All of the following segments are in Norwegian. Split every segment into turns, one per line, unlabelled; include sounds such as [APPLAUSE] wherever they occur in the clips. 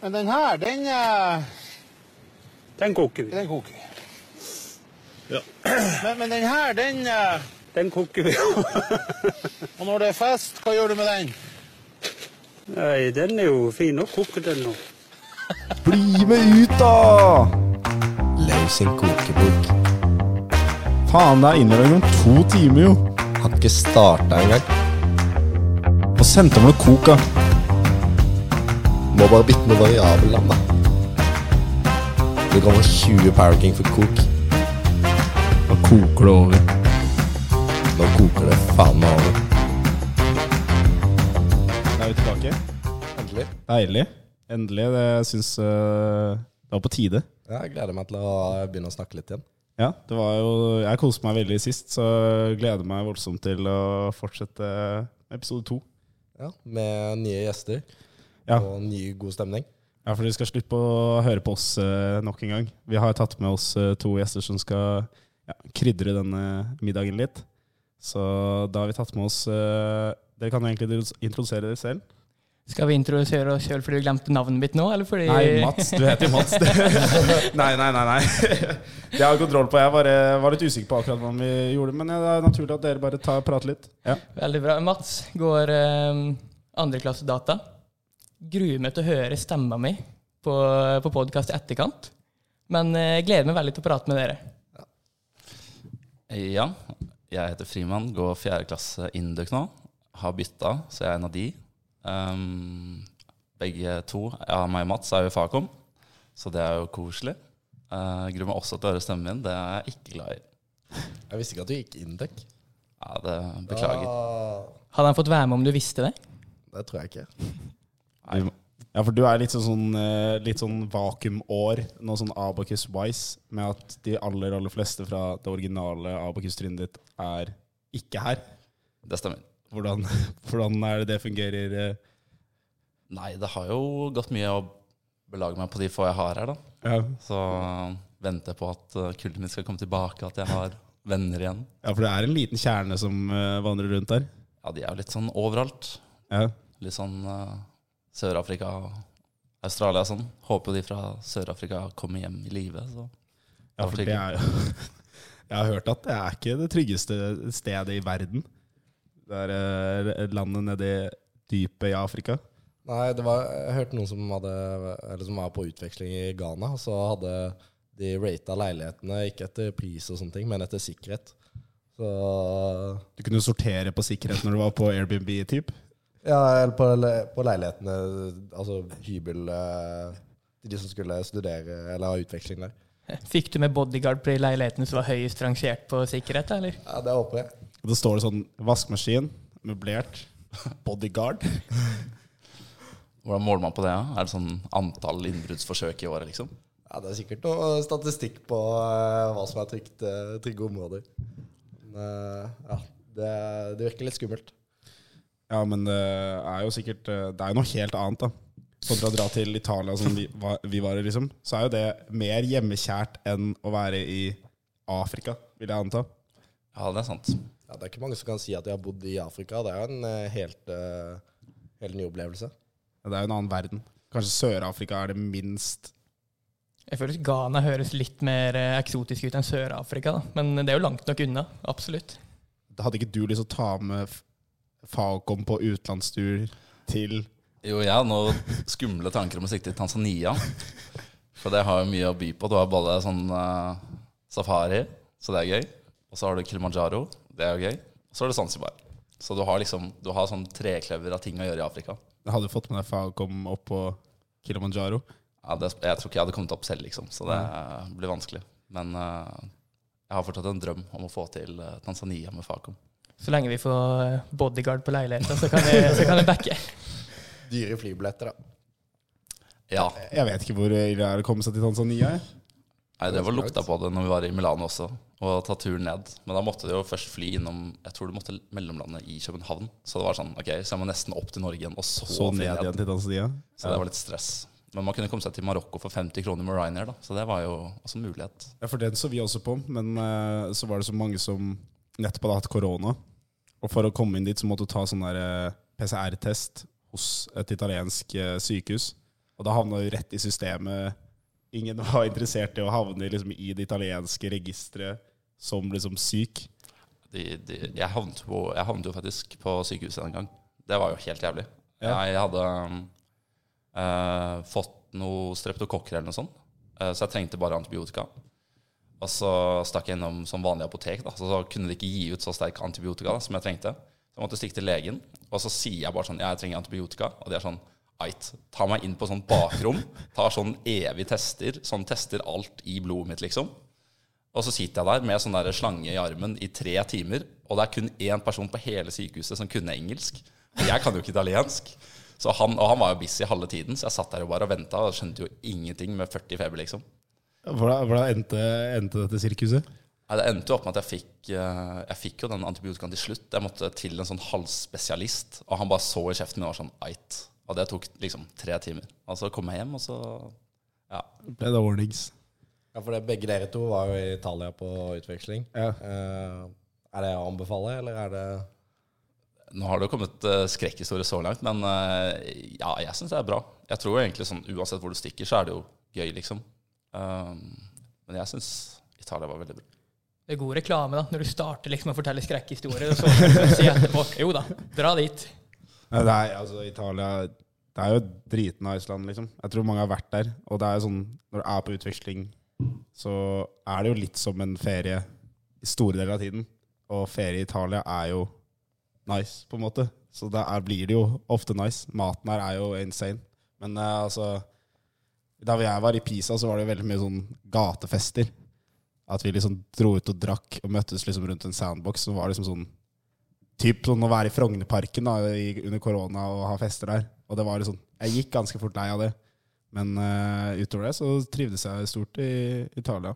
Men den her, den, eh,
Den koker vi.
den koker.
Ja.
Men, men den her, den eh,
Den koker vi. [LAUGHS]
Og når det er fest, hva gjør du med den?
Nei, den er jo fin å koke den nå.
Bli med ut, da!
Leif sin kokebok.
Faen, det er innlevering om to timer, jo.
Hadde ikke starta engang.
Og sendte meg noe kok, da.
Må bare bytte noe variabel navn, da. Du kan få 20 Power King for kok.
Da koker det over.
Nå koker det faen meg over.
Da er vi tilbake.
Endelig.
Deilig. Endelig. Det syns øh, Det var på tide.
Ja, jeg gleder meg til å begynne å snakke litt igjen.
Ja, det var jo Jeg koste meg veldig sist, så jeg gleder meg voldsomt til å fortsette episode to.
Ja, Med nye gjester
Ja.
og ny, god stemning.
Ja, for du skal slippe å høre på oss eh, nok en gang. Vi har tatt med oss eh, to gjester som skal ja, krydre denne middagen litt. Så da har vi tatt med oss eh, Dere kan jo egentlig introdusere dere selv.
Skal vi introdusere oss sjøl fordi du glemte navnet mitt nå? Eller fordi
Nei, Mats. Du heter Mats. [LAUGHS] nei, nei, nei. [LAUGHS] nei. Det har jeg kontroll på. Jeg bare var litt usikker på akkurat hva vi gjorde, men det er naturlig at dere bare tar, prater litt. Ja.
[LAUGHS] Veldig bra. Mats går eh, andreklasse data. Gruer meg til å høre stemma mi på, på podkast i etterkant. Men eh, jeg gleder meg veldig til å prate med dere.
Ja, jeg heter Frimann, går fjerde klasse Induk nå. Har bytta, så jeg er en av de. Ehm, begge to, ja, meg og Mats, er jo i Fakom, så det er jo koselig. Uh, gruer meg også til å høre stemmen min, det er jeg ikke glad i.
Jeg visste ikke at du gikk Indek.
Ja, det Beklager.
Ah,
Hadde han fått være med om du visste det? [LAUGHS]
det tror jeg ikke.
Ja, for du er litt sånn, sånn, eh, litt sånn vakuumår, noe sånn Abacus Wise, med at de aller, aller fleste fra det originale Abacus-trinnet ditt er ikke her.
Det stemmer.
Hvordan, [LAUGHS] hvordan er det det fungerer? eh?
Nei, det har jo gått mye å belage meg på de få jeg har her, da.
Ja,
Så eh, venter jeg på at eh, kullet mitt skal komme tilbake, at jeg har venner igjen.
ja for det er en liten kjerne som eh, vandrer rundt der.
Ja, de er jo litt sånn overalt.
Ja.
Litt sånn eh, Sør-Afrika og Australia og sånn. Håper jo de fra Sør-Afrika kommer hjem i live. Så.
ja, for det er jo [LAUGHS] Jeg har hørt at det er ikke det tryggeste stedet i verden. Det er eh, landet nedi dypet i Afrika.
Nei, det var, jeg hørte noen som, hadde, eller som var på utveksling i Ghana, og så hadde de rata leilighetene ikke etter pris og sånne ting, men etter sikkerhet. Så
Du kunne sortere på sikkerhet når du var på Airbnb-typ.
Ja, eller på, le- på leilighetene, altså hybel eh, til de som skulle studere eller ha utveksling der.
Fikk du med bodyguard på de leilighetene som var høyest rangert på sikkerhet, eller?
Ja, det håper jeg.
Og da står det sånn vaskemaskin, møblert, [LAUGHS] bodyguard.
Hvordan måler man på det? Ja? Er det sånn antall innbruddsforsøk i året, liksom?
Ja, det er sikkert noe statistikk på eh, hva som er trygt, eh, trygge områder. Men eh, ja, det, det virker litt skummelt.
Ja, men det er jo sikkert eh, Det er jo noe helt annet, da. Kontra å dra til Italia, som vi var, vi var i, liksom. Så er jo det mer hjemmekjært enn å være i Afrika, vil jeg anta.
Ja, det er sant.
Ja, det er ikke mange som kan si at de har bodd i Afrika. Det er jo en eh, helt, eh, helt ny opplevelse.
Det er jo en annen verden. Kanskje Sør-Afrika er det minst
Jeg føler at Ghana høres litt mer eh, eksotisk ut enn Sør-Afrika, da. Men det er jo langt nok unna. Absolutt.
Hadde ikke du lyst til å ta med F- Facom på utenlandstur til
Jo, jeg har nå skumle tanker om å sikte til Tanzania. For det har jo mye å by på. Du har både sånn eh, safari, så det er gøy. Og så har du Kilimanjaro, det er jo gøy. Og så har du Zanzibar. Så du har liksom Du har sånn trekløver av ting å gjøre i Afrika.
Hadde du fått med deg Facom opp på Kilimanjaro?
Ja, det, jeg tror ikke jeg hadde kommet opp selv, liksom, så det blir vanskelig. Men eh, jeg har fortsatt en drøm om å få til eh, Tanzania med Facom.
Så lenge vi får eh, bodyguard på leiligheten, så kan jeg, så kan jeg backe.
Dyre flybilletter, da.
Ja,
Jeg vet ikke hvor ille det er å komme seg til Tanzania. jeg.
jeg drev og lukta på det når vi var i Milano også, og ta turen ned. Men da måtte du jo først fly innom Jeg tror du måtte mellomlande i København. Så det var sånn, ok, så jeg må nesten opp til Norge igjen, og så,
Så
fly
ned igjen til Tanzania.
Så det var litt stress. Men man kunne komme seg til Marokko for 50 kroner med Ryanair, da. Så det var jo også en mulighet.
Ja, for den så vi også på, men eh, så var det så mange som nettopp hadde hatt korona. Og for å komme inn dit så måtte du ta sånn der eh, PCR-test hos et italiensk eh, sykehus. Og da havna du rett i systemet. Ingen [LAUGHS] var interessert i å havne liksom, i det italienske registeret som liksom syk.
De, de, jeg, havnet på, jeg havnet jo faktisk på sykehuset en gang. Det var jo helt jævlig.
Ja.
Jeg hadde um, eh, fått noe streptokokker eller noe sånt, eh, så jeg trengte bare antibiotika. Og så stakk jeg innom som vanlig apotek, da. Så, så kunne de ikke gi ut så sterk antibiotika da, som jeg trengte. Så jeg måtte stikke til legen, og så sier jeg bare sånn, jeg trenger antibiotika. Og de er sånn, eit, ta meg inn på sånn bakrom, tar sånn evig tester, sånn tester alt i blodet mitt, liksom. Og så sitter jeg der med sånn der slange i armen i tre timer, og det er kun én person på hele sykehuset som kunne engelsk. Og jeg kan jo ikke italiensk. Så han, og han var jo busy halve tiden, så jeg satt der jo bare og venta og skjønte jo ingenting med 40 feber, liksom.
Hvordan, hvordan endte, endte dette sirkuset?
Nei, det endte jo opp med at jeg fikk, eh, jeg fikk jo den antibiotikaen til slutt. Jeg måtte til en sånn halsspesialist, og han bare så i kjeften min og var sånn eit. Og det tok liksom tre timer. Og så kom jeg hjem, og så Ja.
Ble det warnings?
Ja, for det, begge dere to var jo i Italia på utveksling.
Ja.
Eh, er det å anbefale, eller er det
Nå har det jo kommet eh, skrekkhistorier så langt, men eh, ja, jeg syns det er bra. Jeg tror jo egentlig sånn uansett hvor du stikker, så er det jo gøy, liksom. Um, men jeg syns Italia var veldig bra.
Det er god reklame da, når du starter liksom å fortelle skrekkhistorier, og så kan du si etterpå jo da, dra dit.
Nei, det er, altså, Italia Det er jo dritnice land, liksom. Jeg tror mange har vært der. Og det er jo sånn, når du er på utveksling, så er det jo litt som en ferie i store deler av tiden. Og ferie i Italia er jo nice, på en måte. Så det er, blir det jo ofte nice. Maten her er jo insane. Men eh, altså Da jeg var i Pisa, så var det jo veldig mye sånn gatefester. At vi liksom dro ut og drakk og møttes liksom rundt en sandbox. Så var det liksom sånn Typ sånn å være i Frognerparken da, i, under korona og ha fester der. Og det var jo sånn, Jeg gikk ganske fort lei av det. Men eh, utover det så trivdes jeg stort i Italia.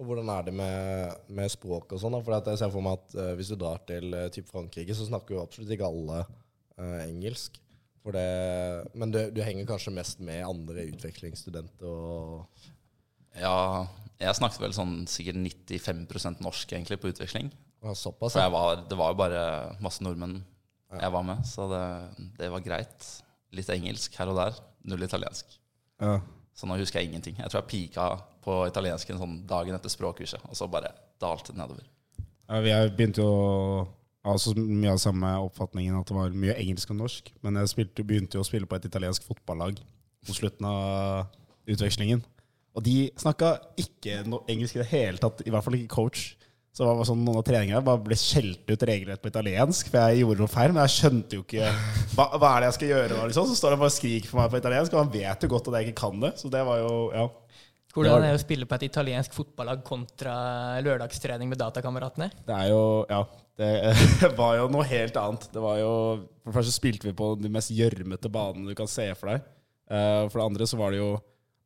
Og hvordan er det med, med språk og sånn? da? For at jeg ser for meg at eh, hvis du drar til eh, typ Frankrike, så snakker jo absolutt ikke alle eh, engelsk. For det, men du, du henger kanskje mest med andre utvekslingsstudenter og
Ja, jeg snakket vel sånn sikkert 95 norsk egentlig på utveksling.
og såpass?
For
Ja.
jeg var, det var jo bare masse nordmenn jeg var med, så det, det var greit. Litt engelsk her og der, null italiensk.
Ja.
Så nå husker jeg ingenting. Jeg tror jeg pika på italiensken sånn dagen etter språkkurset, og så bare dalte det nedover.
Ja, vi er- begynte jo å ha så mye av samme oppfatningen at det var mye engelsk og norsk. Men jeg spilte, begynte jo å spille på et italiensk fotballag på slutten av utvekslingen. Og de snakka ikke no engelsk i det hele tatt, i hvert fall ikke coach. Så det var bare sånn, noen av treningene bare ble skjelt ut regelrett på italiensk, for jeg gjorde noe feil. Men jeg skjønte jo ikke hva, hva er det jeg skal gjøre. nå, Liksom. Så står han bare og skriker for meg på italiensk, og han vet jo godt at jeg ikke kan det. Så det var jo, ja.
Hvordan er det å spille på et italiensk fotballag kontra lørdagstrening med datakameratene?
Det er jo Ja. Det [LAUGHS] var jo noe helt annet. Det var jo For det første spilte vi på de mest gjørmete banene du kan se for deg. Eh, For det andre så var det jo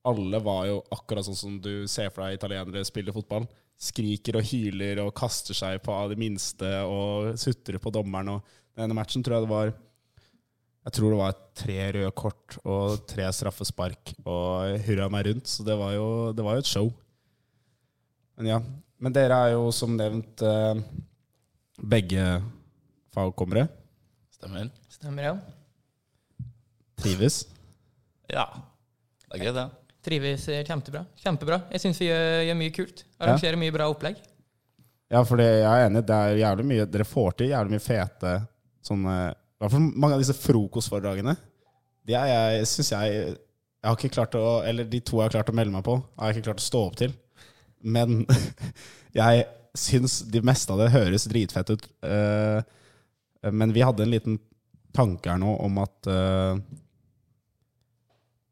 Alle var jo akkurat sånn som du ser for deg italienere spiller fotball. Skriker og hyler og kaster seg på det minste og sutrer på dommeren. Og den ene matchen tror jeg det var Jeg tror det var tre røde kort og tre straffespark og hurra meg rundt. Så det var jo, det var jo et show. Men ja. Men dere er jo som nevnt eh, begge fagkommere.
Stemmer?
Stemmer, ja.
Trives.
Ja. Det er gøy, det.
Trives eh, kjempebra. Kjempebra. Jeg syns vi gjør, gjør mye kult. Arrangerer mye bra opplegg.
Ja, for det, jeg er enig. Det er jævlig mye, dere får til jævlig mye fete sånne I hvert fall mange av disse frokostforedragene. De er jeg, syns jeg Jeg har ikke klart å Eller de to jeg har klart å melde meg på, har jeg ikke klart å stå opp til. Men [LAUGHS] jeg syns de meste av det høres dritfett ut. Eh, men vi hadde en liten tanke her nå om at eh,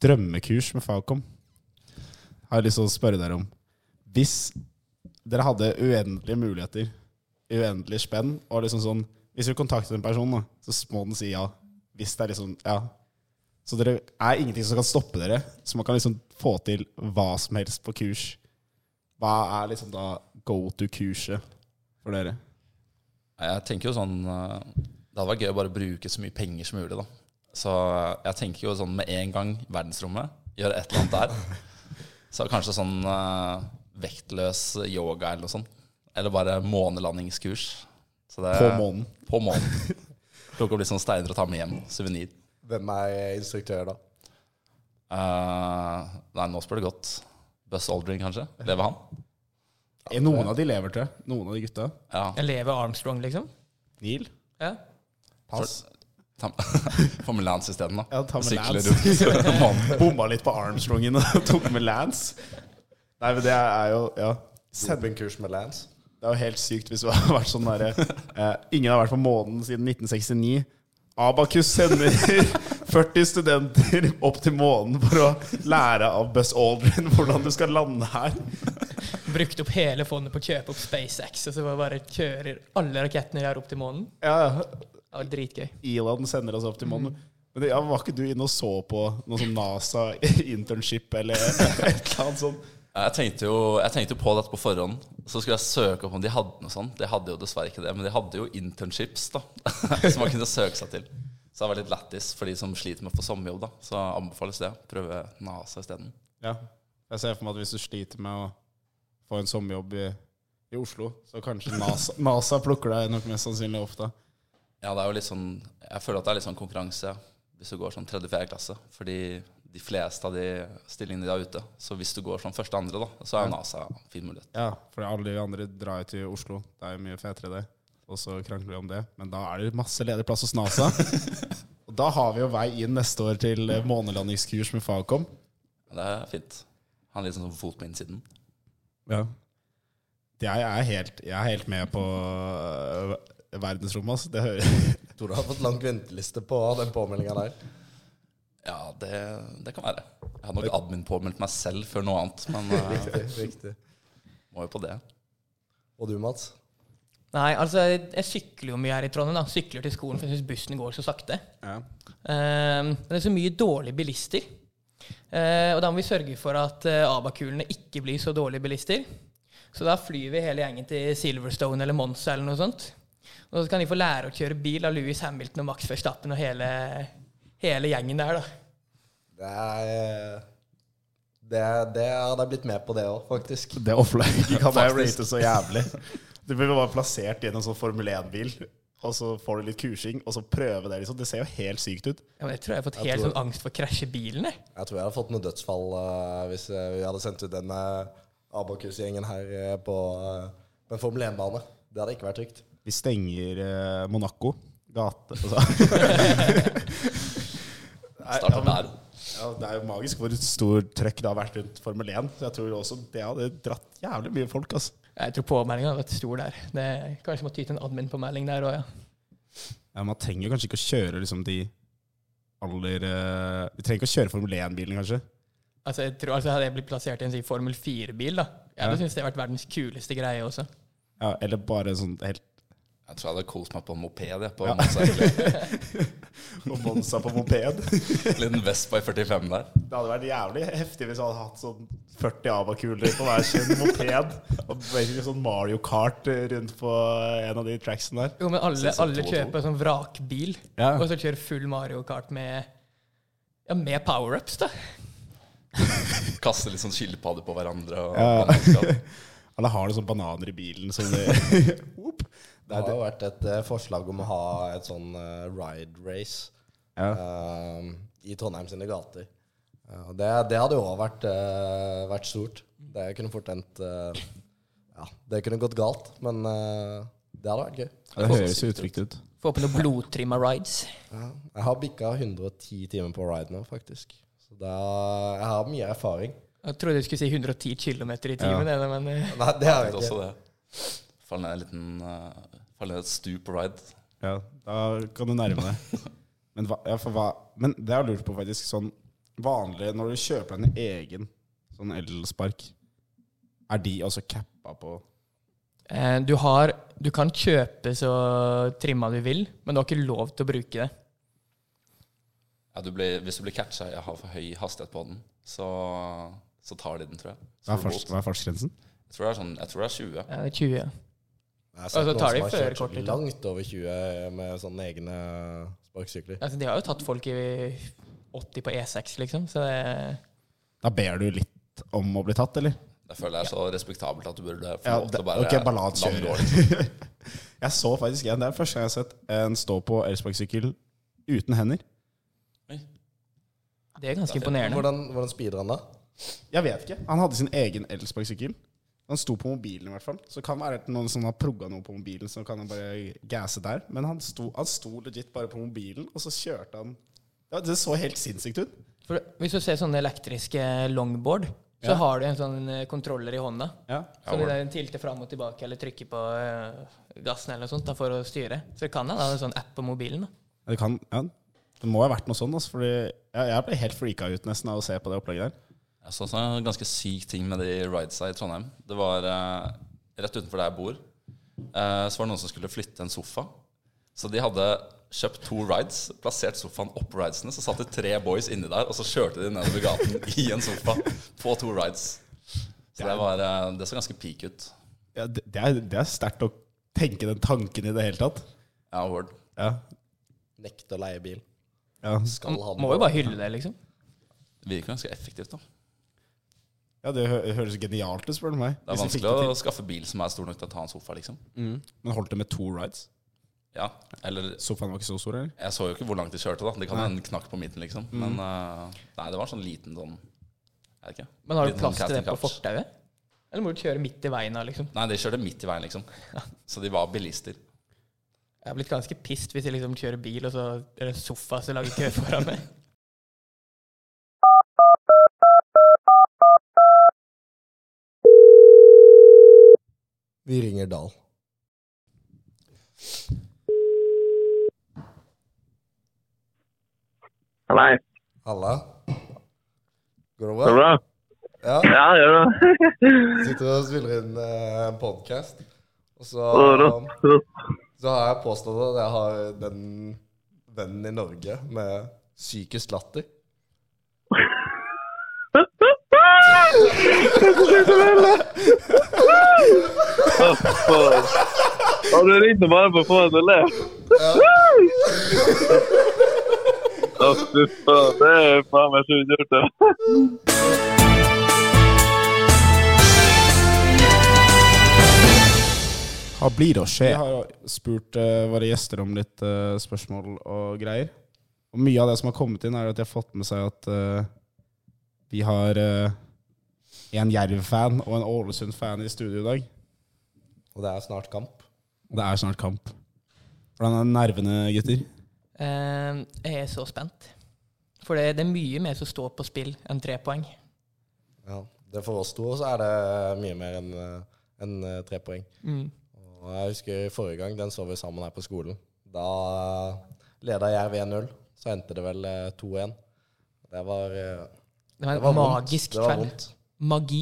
Drømmekurs med Fagcom har jeg lyst til å spørre dere om. Hvis dere hadde uendelige muligheter, uendelig spenn, og liksom sånn Hvis du kontakter en person, da, så må den si ja. Hvis det er liksom Ja. Så dere er ingenting som kan stoppe dere, så man kan liksom få til hva som helst på kurs. Hva er liksom da go to-kurset for dere?
Jeg tenker jo sånn eh, Det hadde vært gøy å bare bruke så mye penger som mulig, da. Så jeg tenker jo sånn med en gang verdensrommet, gjøre et eller annet der. Så kanskje sånn eh, vektløs yoga eller noe sånt. Eller bare månelandingskurs. Så det-
På månen.
På månen. Plukke opp litt sånne steiner og ta med hjem. Suvenir.
Hvem er instruktør, da?
Eh, nei, nå spør du godt. Buzz Aldrin, kanskje? Lever han?
Eh, Noen av de lever til. Noen av de gutta.
Ja.
Jeg lever Armstrong, liksom.
Neil.
Ja.
Pass. Få med [LAUGHS] Lance isteden, da.
Ja, ta med
Sykler
Lance.
rundt, så er det mann.
Bomma litt på Armstrongen og tok med Lance. Nei, men det er jo Ja.
Send en kurs med Lance.
Det er jo helt sykt hvis det [LAUGHS] har vært sånn derre eh, Ingen har vært på månen siden 1969. Abakus sender [LAUGHS] 40 studenter opp til månen for å lære av Buzz Aldrin [LAUGHS] hvordan du skal lande her.
Brukte opp hele fondet på å kjøpe opp SpaceX, og så bare kjører alle rakettene de har opp til månen.
Ja, ja. Mm.
Det var dritgøy.
Elon sender oss opp til månen. Men det, ja, Var ikke du inne og så på noe sånn [LAUGHS] NASA-internship eller et eller annet sånt?
Jeg tenkte, jo, jeg tenkte jo på dette på forhånd. Så skulle jeg søke opp om de hadde noe sånt. De hadde jo dessverre ikke det, men de hadde jo internships da [LAUGHS] som man kunne søke seg til. Så det var litt lættis for de som sliter med å få sommerjobb. da Så anbefales det. Prøve NASA isteden.
Ja. Jeg ser for meg at hvis du sliter med å få en sommerjobb i, i Oslo, så kanskje NASA, NASA plukker deg nok mest sannsynlig opp da.
Ja, det er jo litt sånn Jeg føler at det er litt sånn konkurranse hvis du går sånn tredje-fjerde klasse. Fordi de fleste av de stillingene de har ute. Så hvis du går sånn første-andre, da, så er jo NASA en fin mulighet.
Ja, for alle de andre drar jo til Oslo. Det er jo mye fetere det. Og så krangler vi om det. Men da er det masse ledig plass hos [LAUGHS] NASA. Og da har vi jo vei inn neste år til eh, månelandingskurs med Fagcom.
Det er fint. Han er litt sånn som fot på innsiden.
Ja. Jeg er helt, jeg er helt med på eh, verdensrommet, altså. Det hører
Tror du har fått lang venteliste på den påmeldinga der.
Ja, det, det kan være. Jeg hadde nok admin påmeldt meg selv før noe annet,
[LAUGHS]
men eh,
Riktig, riktig.
må jo på det.
Og du, Mats?
Nei, altså, jeg, jeg sykler jo mye her i Trondheim. da. Sykler til skolen, for jeg syns bussen går så sakte.
Ja.
Eh, men det er så mye dårlige bilister. Eh, og da må vi sørge for at eh, abakulene ikke blir så dårlige bilister. Så da flyr vi hele gjengen til Silverstone eller Monza eller noe sånt. Og så kan de få lære å kjøre bil av Louis Hamilton og Max Verstappen og hele, hele gjengen der, da.
Det er eh, Det, er- det jeg hadde jeg blitt med på, det òg, faktisk.
[LAUGHS] Det [LAUGHS] opplegget kan jeg
Faktisk.
rate så [LAUGHS] jævlig. Du blir bare plassert i en sånn Formel 1-bil, og så får du litt kursing, og så prøve det, liksom. Det ser jo helt sykt ut.
Ja, men jeg tror jeg har fått
Jeg
helt
tror-
sånn angst for å krasje bilen, jeg.
Jeg tror jeg hadde fått noen dødsfall eh, hvis eh, vi hadde sendt ut den eh, Abakus-gjengen her eh, på eh, på en Formel 1-bane. Det hadde ikke vært trygt.
Vi stenger eh, Monaco gate. Altså.
Starter der.
Ja, det er jo magisk hvor stor trøkk det har vært rundt Formel 1. Så jeg tror også det hadde dratt jævlig mye folk. Altså.
Jeg tror påmeldinga har vært stor der. Det, kanskje må ty til en admin-påmelding der òg, ja.
Ja, man trenger kanskje ikke å kjøre liksom, de aller eh, Vi trenger ikke å kjøre Formel 1-bilen, kanskje.
Altså, jeg tror, altså, hadde jeg blitt plassert i en sånn Formel 4-bil, da Jeg hadde
Ja.
syntes det hadde vært verdens kuleste greie også.
Ja, eller bare sånn helt
Jeg tror jeg hadde kost meg på en moped. jeg, På masse, egentlig. [LAUGHS]
Og Monza på moped.
Liten Vespa i 45 der.
Det hadde vært jævlig heftig hvis jeg hadde hatt sånn 40 Ava-kuler på hver sin moped. Og basically sånn Mario Kart rundt på en av de tracksene der.
Jo, men alle,
Sånn som
alle
to og to.
kjøper sånn vrakbil,
Ja.
og så kjører full Mario Kart med ja, med power-ups, da.
Kaste litt sånn skilpadder på hverandre. Og
Ja.
bananskall.
Eller har du sånne bananer i bilen som de [LAUGHS] Oop.
Det har jo vært et eh, forslag om å ha et sånn eh, ride race eh, i Trondheim sine gater. Eh, og det, det hadde jo òg vært, eh, vært stort. Det kunne fort endt eh, Ja, det kunne gått galt, men eh, det hadde vært gøy.
Det høres jo utrygt ut.
Få på noen blodtrimma rides.
Ja. Jeg har bikka 110 timer på ride nå, faktisk. Så det er, jeg har mye erfaring.
Jeg trodde du skulle si 110 km i timen, jeg, da, men eh,
Nei,
[LAUGHS]
det har
Jeg
jeg ikke.
tenkte også det. Fall ned en liten eh, Fall ned et stup ride.
Ja, da kan du nærme deg. Men, hva, ja, for hva, men det har jeg lurt på, faktisk. Sånn vanlig når du kjøper deg en egen sånn elspark, er de også cappa på
eh, du har Du kan kjøpe så trimma du vil, men du har ikke lov til å bruke det.
Ja, du blir, hvis du blir catcha Jeg har for høy hastighet på den, så, så tar de den, tror jeg. Så
Hva er,
får du
farts,
bot.
hva er fartsgrensen?
jeg, tror det er sånn, jeg tror det er 20.
Ja, det er 20. ja.
Jeg har
Og så
noen
altså, tar
som har
de
kjørt
førerkortet ditt, da.
Langt over 20 med sånne egne sparkesykler.
Altså, de har jo tatt folk i 80 på E6, liksom, så det
Da ber du litt om å bli tatt, eller?
Det føler jeg er så respektabelt at du burde få
Ja,
lov
det-
til å bare
ok,
la
bare la
den
den
gå
kjøre.
litt.
[LAUGHS] Jeg så faktisk en. Det er første gang jeg har sett en stå på elsparkesykkel uten hender.
Det er ganske imponerende.
Hvordan, hvordan speeder han da?
Jeg vet ikke. Han hadde sin egen elsparkesykkel. Han sto på mobilen, i hvert fall. Så det kan være at noen som har progga noe på mobilen, så kan han bare gasse der. Men han sto, han sto legit bare på mobilen, og så kjørte han ja, Det så helt sinnssykt ut.
For hvis du ser sånne elektriske longboard, så har du en sånn eh, kontroller i hånda.
Ja.
Så de der tilter fram og tilbake eller trykker på eh, gassen eller noe sånt da, for å styre. Så det kan hende det er en sånn app på mobilen. da.
Det kan ja. Det må ha vært noe sånn, altså, fordi jeg, jeg ble helt freaka ut nesten av å se på det opplegget der.
Jeg så også en ganske syk ting med de ridesa i Trondheim. Det var eh, rett utenfor der jeg bor. Eh, så var det noen som skulle flytte en sofa. Så de hadde kjøpt to rides, plassert sofaen opp ridesene. Så satt det tre boys inni der, og så kjørte de nedover gaten [LAUGHS] i en sofa på to rides. Så det, var, eh, det så ganske peak ut.
Ja, det, det er, det er sterkt å tenke den tanken i det hele tatt.
Ja, word.
Ja.
Nekte å leie bil.
Ja,
Skal han
Må jo bare hylle det, liksom.
Det virker ganske effektivt, da.
ja det hø høres genialt ut, spør du meg.
Det er
Hvis de fikk
vanskelig å
det til.
skaffe bil som er stor nok til å ta en sofa, liksom.
Men holdt det med to rides?
Ja, eller
Sofaen var ikke så stor, eller?
Jeg så jo ikke hvor langt de kjørte, da. Det kan hende en knakk på midten, liksom.
Mm.
Men eh, nei, det var sånn liten sånn Jeg vet ikke.
Men har du
Liten
sånn
sånn
plass til det
casting
på
couch.
fortauet? Eller må du kjøre midt i veien da, liksom?
Nei, de kjørte midt i veien, liksom. Så de var bilister.
Jeg har blitt ganske pissed hvis jeg liksom kjører bil, og så er det en sofa som lager kø foran
[LAUGHS]
meg.
Vi ringer Dahl.
Nei,
Halla. Går det
det er
bra?
bra.
Ja.
Ja, det er bra.
Sitter og spiller inn eh, en podkast, og så,
Og rått, rått.
så har jeg påstått at jeg har den vennen i Norge med psykisk latter.
Å, faen. Og du ringte bare for å få henne til å le. Å, fy faen. Det er faen meg sjukt gjort, det.
Hva blir å skje? Vi har jo spurt eh, våre gjester om litt eh, spørsmål og greier. Og mye av det som har kommet inn, er at de har fått med seg at eh, vi har eh, en Jerv-fan og en Ålesund-fan i studio i dag.
Og det er snart kamp.
Og det er snart kamp. Hvordan er nervene, gutter?
Eh, jeg er så spent. For det, det er mye mer som står på spill enn tre poeng.
Ja. Det for oss to så er det mye mer enn eh, enn, eh, tre poeng. Og jeg husker forrige gang, den så vi sammen her på skolen. Da leda Jerv 1-0. Så endte det vel eh, 2-1. Det var eh,
Det var en
Det var vondt.
magisk
Det var
kveld.
vondt.
Magi.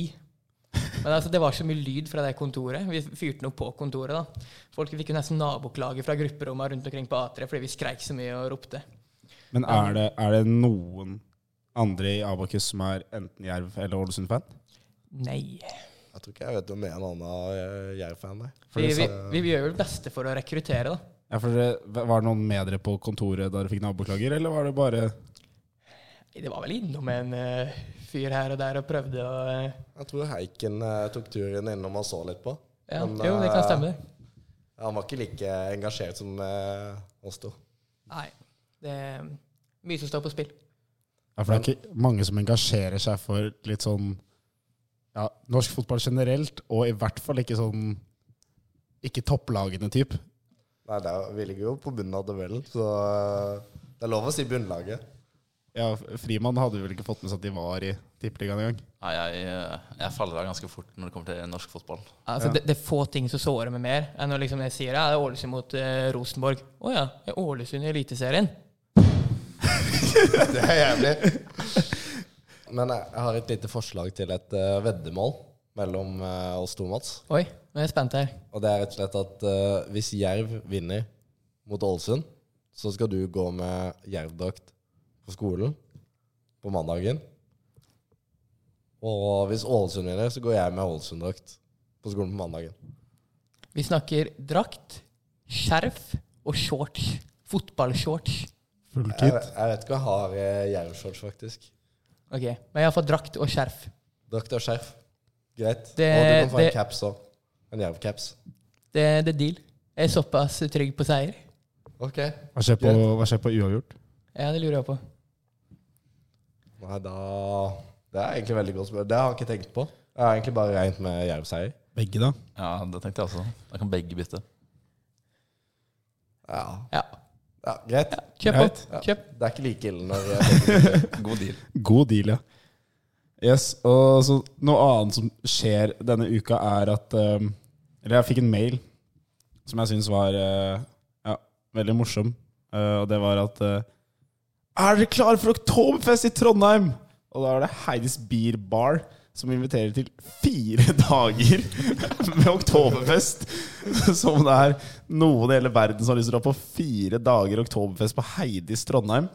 Men altså, det var så mye lyd fra det kontoret. Vi fyrte den opp på kontoret. da. Folk fikk jo nesten naboklage fra grupperommene rundt omkring på A3 fordi vi skreik så mye og ropte.
Men er det, er det noen andre i Abakus som er enten Jerv- eller Ålesund-fan?
Nei.
Jeg tror ikke jeg vet om en annen eh, Jerv-fan, nei.
Vi, vi, vi, vi gjør jo det beste for å rekruttere, da.
Ja, for dere, var det noen med dere på kontoret da dere fikk naboklager, eller var det bare
Det var vel innom en eh, fyr her og der og prøvde å eh,
Jeg tror Heiken eh, tok turen innom og så litt på.
Ja,
Men,
jo, det kan
eh,
stemme.
Han var ikke like engasjert som eh, oss to.
Nei. Det er mye som står på spill.
Ja, for det er ikke mange som engasjerer seg for litt sånn ja, norsk fotball generelt, og i hvert fall ikke sånn ikke topplagene type.
Nei, det er, vi ligger jo på bunnen av tabellen, så eh, det er lov å si bunnlaget.
Ja, Frimann hadde vel ikke fått med seg at de var i Tippeligaen engang.
Nei, jeg, eh, jeg faller av ganske fort når det kommer til norsk fotball.
Altså, det, det er få ting som sårer meg mer enn når liksom jeg sier ja, det er Ålesund mot eh, Rosenborg. Å ja, det er Ålesund i Eliteserien.
Det er jævlig. Men jeg, jeg har et lite forslag til et eh, veddemål mellom eh, oss to, Mats.
Oi, nå er jeg spent her.
Og det er rett og slett at eh, hvis Jerv vinner mot Ålesund, så skal du gå med Jerv-drakt på skolen på mandagen. Og hvis Ålesund vinner, så går jeg med Ålesund-drakt på skolen på mandagen.
Vi snakker drakt, skjerf og shorts. Fotballshorts.
Jeg, jeg vet ikke om jeg har uh, Jerv-shorts, faktisk.
Ok, Men iallfall drakt og skjerf.
Drakt og skjerf. Greit.
Det-
og du kan få
det-
en caps òg. En Jerv-caps.
Det, det er deal. Jeg er såpass trygg på seier.
Ok.
Hva skjer på, hva skjer på uavgjort?
Ja, det lurer jeg på.
Nei, da Det er egentlig veldig godt spørsmål. Det har jeg ikke tenkt på. Jeg har egentlig bare regnet med jervseier.
Begge, da?
Ja, det tenkte jeg også. Da kan begge bytte.
Ja.
Ja.
ja, greit.
Kjøp opp. Kjøp.
Det er ikke like ille når jeg
God deal.
God deal, ja. Yes, og så Noe annet som skjer denne uka, er at eh, Eller jeg fikk en mail som jeg syns var eh, ja, veldig morsom. Eh, og det var at eh, Er dere klare for Oktoberfest i Trondheim? Og da er det Heidis Beer Bar som inviterer til fire [LAUGHS] dager med Oktoberfest. Som det er noen i hele verden som har lyst til å dra på fire dager Oktoberfest på Heidis Trondheim.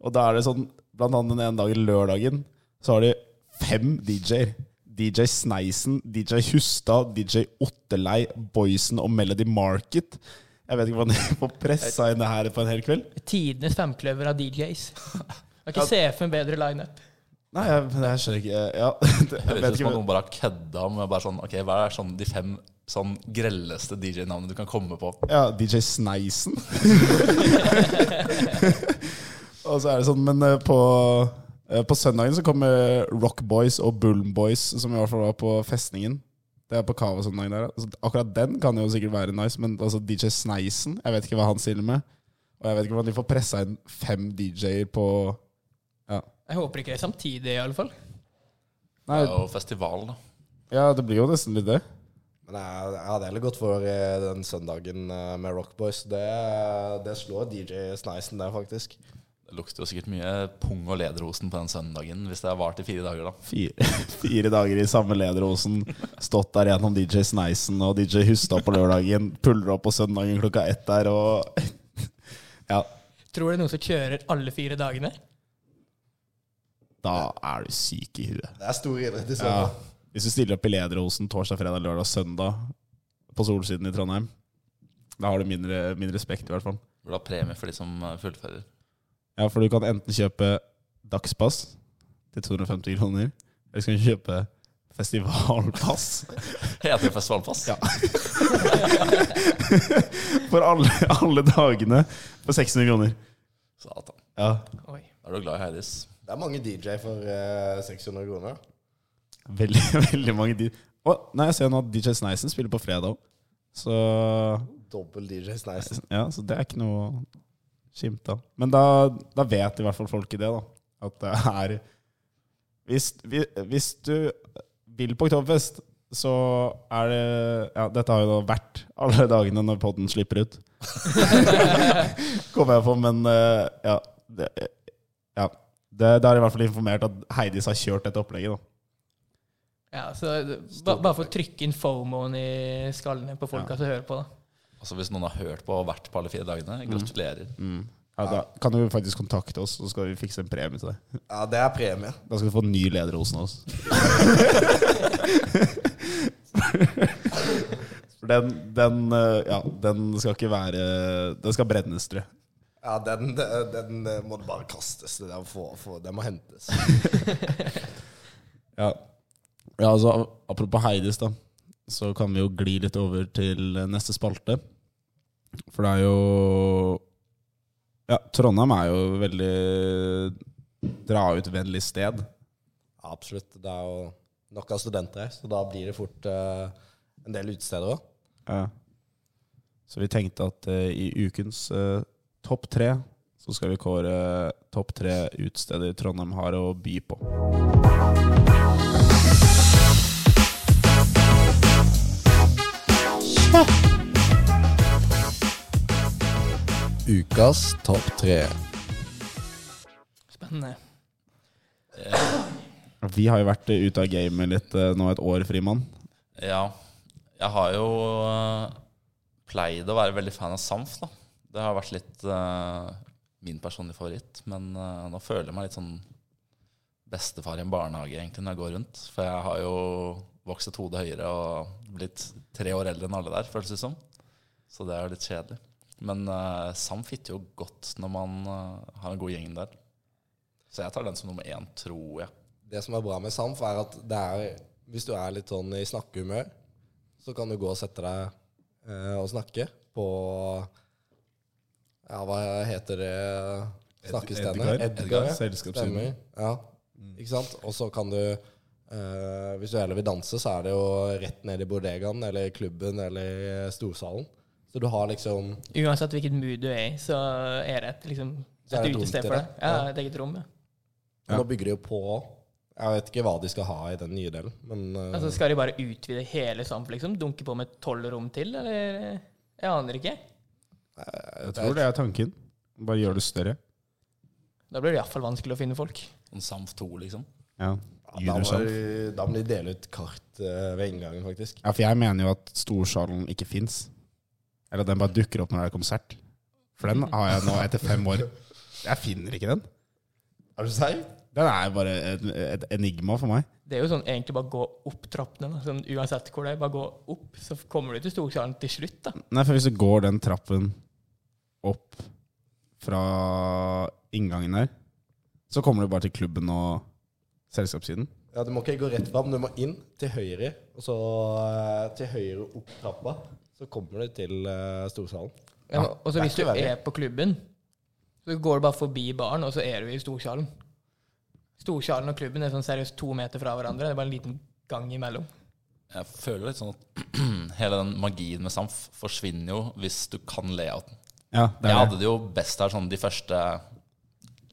Og da er det sånn, blant annet den ene dagen, lørdagen, så har de fem DJ-er. DJ Sneisen, DJ Hustad, DJ Otterlei, Boysen og Melody Market. Jeg vet ikke hvordan de [LAUGHS] får pressa inn det her på en hel kveld.
Tidenes femkløver av DJs. Har ikke CF en bedre lineup.
Nei, jeg, men jeg skjønner ikke Ja, [LAUGHS] det, jeg
Høres
vet
ut
ikke
som at
hva-
noen bare har kødda med bare sånn Ok, hva er sånn de fem sånn grelleste DJ-navnene du kan komme på?
Ja, DJ Sneisen. og så er det sånn, men eh, på, eh, på søndagen så kommer Rock Boys og Bullen Boys, som i hvert fall var på festningen. Det er på Kava søndagen der. Altså, akkurat den kan jo sikkert være nice, men altså DJ Sneisen, jeg vet ikke hva han stiller med. Og jeg vet ikke hvordan de får pressa inn fem DJ-er på ja.
Jeg håper ikke det er samtidig, i alle fall.
Nei,
Det er jo festivalen, da.
ja, det blir jo nesten litt det.
Men jeg, jeg hadde heller gått for eh, den søndagen eh, med Rockboys. Det, det slår DJ Sneisen der, faktisk.
Det lukter jo sikkert mye pung og lederhosen på den søndagen hvis det har vart i fire dager, da.
Fire, [LAUGHS] fire dager i samme lederosen. Stått der gjennom DJ Sneisen og DJ Hustad på lørdagen. Puller opp på søndagen klokka ett der og Ja,
Tror du det er noen som kjører alle fire dagene?
da er du syk i huet.
Det er stor idrett i så
Ja.
fall.
Hvis du stiller opp i lederosen torsdag, fredag, lørdag, søndag på Solsiden i Trondheim, da har du min, re- min respekt, i hvert fall.
Burde ha premie for de som eh, fullfører.
Ja, for du kan enten kjøpe dagspass til 250 kroner, eller så kan du kjøpe festivalpass. [LAUGHS]
Heter det festivalpass?
Ja. For alle, alle dagene for 600 kroner.
Satan.
Ja.
Oi.
Da er du glad i Heidis.
Det er mange DJ for eh, 600 kroner.
Veldig, [LAUGHS] veldig mange de... Å, nei, jeg ser nå at DJ Sneisen spiller på fredag òg. Så
Dobbel DJ Sneisen.
Ja, så det er ikke noe å skimte av. Men da, da vet i hvert fall folk i det, da. At det er Hvis, vi- hvis du vil på Oktoberfest, så er det Ja, dette har jo da vært alle dagene når podden slipper ut. [LAUGHS] Kommer jeg på, men eh, ja. Det, ja. Det, det er i hvert fall informert at Heidis har kjørt dette opplegget, da.
Ja, så det- ba, Bare for å trykke inn fomoen i skallene på folka som hører på. da.
Altså Hvis noen har hørt på og vært på alle fire dagene, gratulerer.
Ja, da kan du faktisk kontakte oss, så skal vi fikse en premie til deg.
Ja, det er premie.
Da skal du få en ny lederrosen av oss. [LAUGHS] For den, den, eh, ja, den skal ikke være Den skal brennes, tror jeg.
Ja, den, den eh, må bare kastes. Den, må få- få- den må hentes.
Ja. ja, altså Apropos Heidis, da. Så kan vi jo gli litt over til neste spalte. For det er jo Ja, Trondheim er jo veldig dra-ut-vennlig sted.
Ja, absolutt. Det er jo nok av studenter her, så da blir det fort eh, en del utesteder òg.
Ja. Så vi tenkte at eh, i ukens eh, topp tre så skal vi kåre eh, topp tre utesteder Trondheim har å by på.
Ukas topp tre.
Spennende.
Vi har jo vært eh, ute av gamet litt eh, nå et år, Frimann.
Ja. Jeg har jo eh, pleid å være veldig fan av Samf, da. Det har vært litt eh, min personlige favoritt. Men eh, nå føler jeg meg litt sånn bestefar i en barnehage egentlig når jeg går rundt. For jeg har jo vokst et hode høyere og blitt tre år eldre enn alle der, føles det som. Så det er jo litt kjedelig. Men eh, Samf hitter jo godt når man eh, har en god gjeng der. Så jeg tar den som nummer én, tror jeg.
Det som er bra med Samf, er at det er, hvis du er litt sånn i snakkehumør, så kan du gå og sette deg eh, og snakke på Ja, hva heter det
Edgar?
snakkestedet?
Edgar,
ja.
selskapssiden.
Stemmer. Ja. Ikke sant? Og så kan du eh, Hvis du heller vil danse, så er det jo rett ned i bodegaen eller i klubben eller i storsalen. Så du har liksom
Uansett hvilket mood du er i, så er det et, liksom,
Så er
et
det et rom
utested
til
for
det.
deg. Ja, et eget rom. Ja.
Nå bygger de jo på Jeg vet ikke hva de skal ha i den nye delen, men eh,
Altså, skal de bare utvide hele Samp, liksom? Dunke på med tolv rom til, eller? Jeg aner ikke.
Jeg tror det er tanken. Bare gjør det større.
Da blir det iallfall vanskelig å finne folk.
Sånn Samf 2, liksom.
Ja.
da, må,
Juniorsamp.
da må de dele ut kart eh, ved inngangen, faktisk.
Ja, for jeg mener jo at storsalen ikke fins. Eller at den bare dukker opp når det er konsert. For den har jeg nå etter fem år. Jeg finner ikke den.
Er du seig?
Den er bare et, et enigma for meg.
Det er jo sånn egentlig bare gå opp trappene. Da. Sånn, uansett hvor det er, bare gå opp, så kommer du til Storsalen til slutt, da.
Nei, for hvis du går den trappen opp fra inngangen der, så kommer du bare til klubben og selskapssiden.
Ja, Du må ikke gå rett fram, du må inn til høyre. Og så eh, til høyre opp trappa. Så kommer du til eh, storsalen.
Ja, og så hvis du
ikke verre.
er på klubben, så går du bare forbi baren, og så er du i Storsalen. Storsalen og klubben er sånn seriøst to meter fra hverandre. Det er bare en liten gang imellom.
Jeg føler litt sånn at [CLEARS THROAT] hele den magien med Samf forsvinner jo hvis du kan layouten.
Ja, det
Jeg
er
hadde
det.
det jo best her sånn de første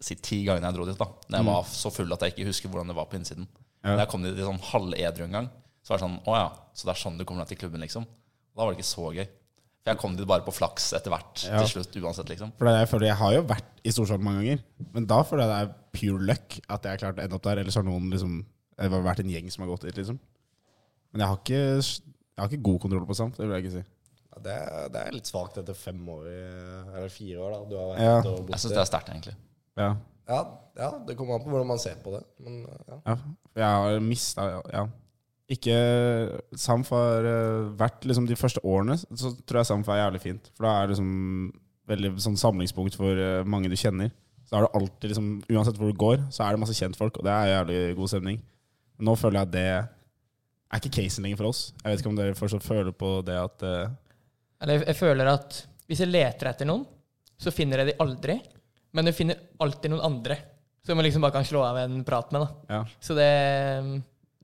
si, ti gangene jeg dro dit. da Når jeg var så full at jeg ikke husker hvordan det var på innsiden.
Mm. Ja.
Da jeg kom dit i sånn halvedru en gang, så var det sånn Å ja, så det er sånn du kommer deg til klubben, liksom. Da var det ikke så gøy. For jeg kom dit bare på flaks etter hvert,
Ja.
til slutt, uansett, liksom.
For det er jeg, føler, jeg har jo vært i Storsalen mange ganger, men da føler jeg det er pure luck at jeg har klart å ende opp der. Ellers har noen liksom Det har vært en gjeng som har gått dit, liksom. Men jeg har ikke, jeg har ikke god kontroll på samt, det vil jeg ikke si.
Ja, det, er- det er litt svakt etter fem år, i- eller fire år, da. Du har vært
Ja.
og
Jeg syns
borte.
det er sterkt, egentlig.
Ja.
Ja, ja, det kommer an på hvordan man ser på det. Men eh, ja.
ja. For Jeg har mista Ja. Ikke Samf har eh, vært liksom De første årene så tror jeg Samf er jævlig fint. For da er det liksom veldig sånn samlingspunkt for eh, mange du kjenner. Så er det alltid liksom Uansett hvor du går, så er det masse kjentfolk, og det er jævlig god stemning. Nå føler jeg at det er ikke casen lenger for oss. Jeg vet ikke om dere fortsatt føler på det at eh,
Eller jeg- jeg føler at hvis jeg leter etter noen, så finner jeg de aldri. Men jeg finner alltid noen andre som jeg liksom bare kan slå av en prat med. da.
Ja.
Så det,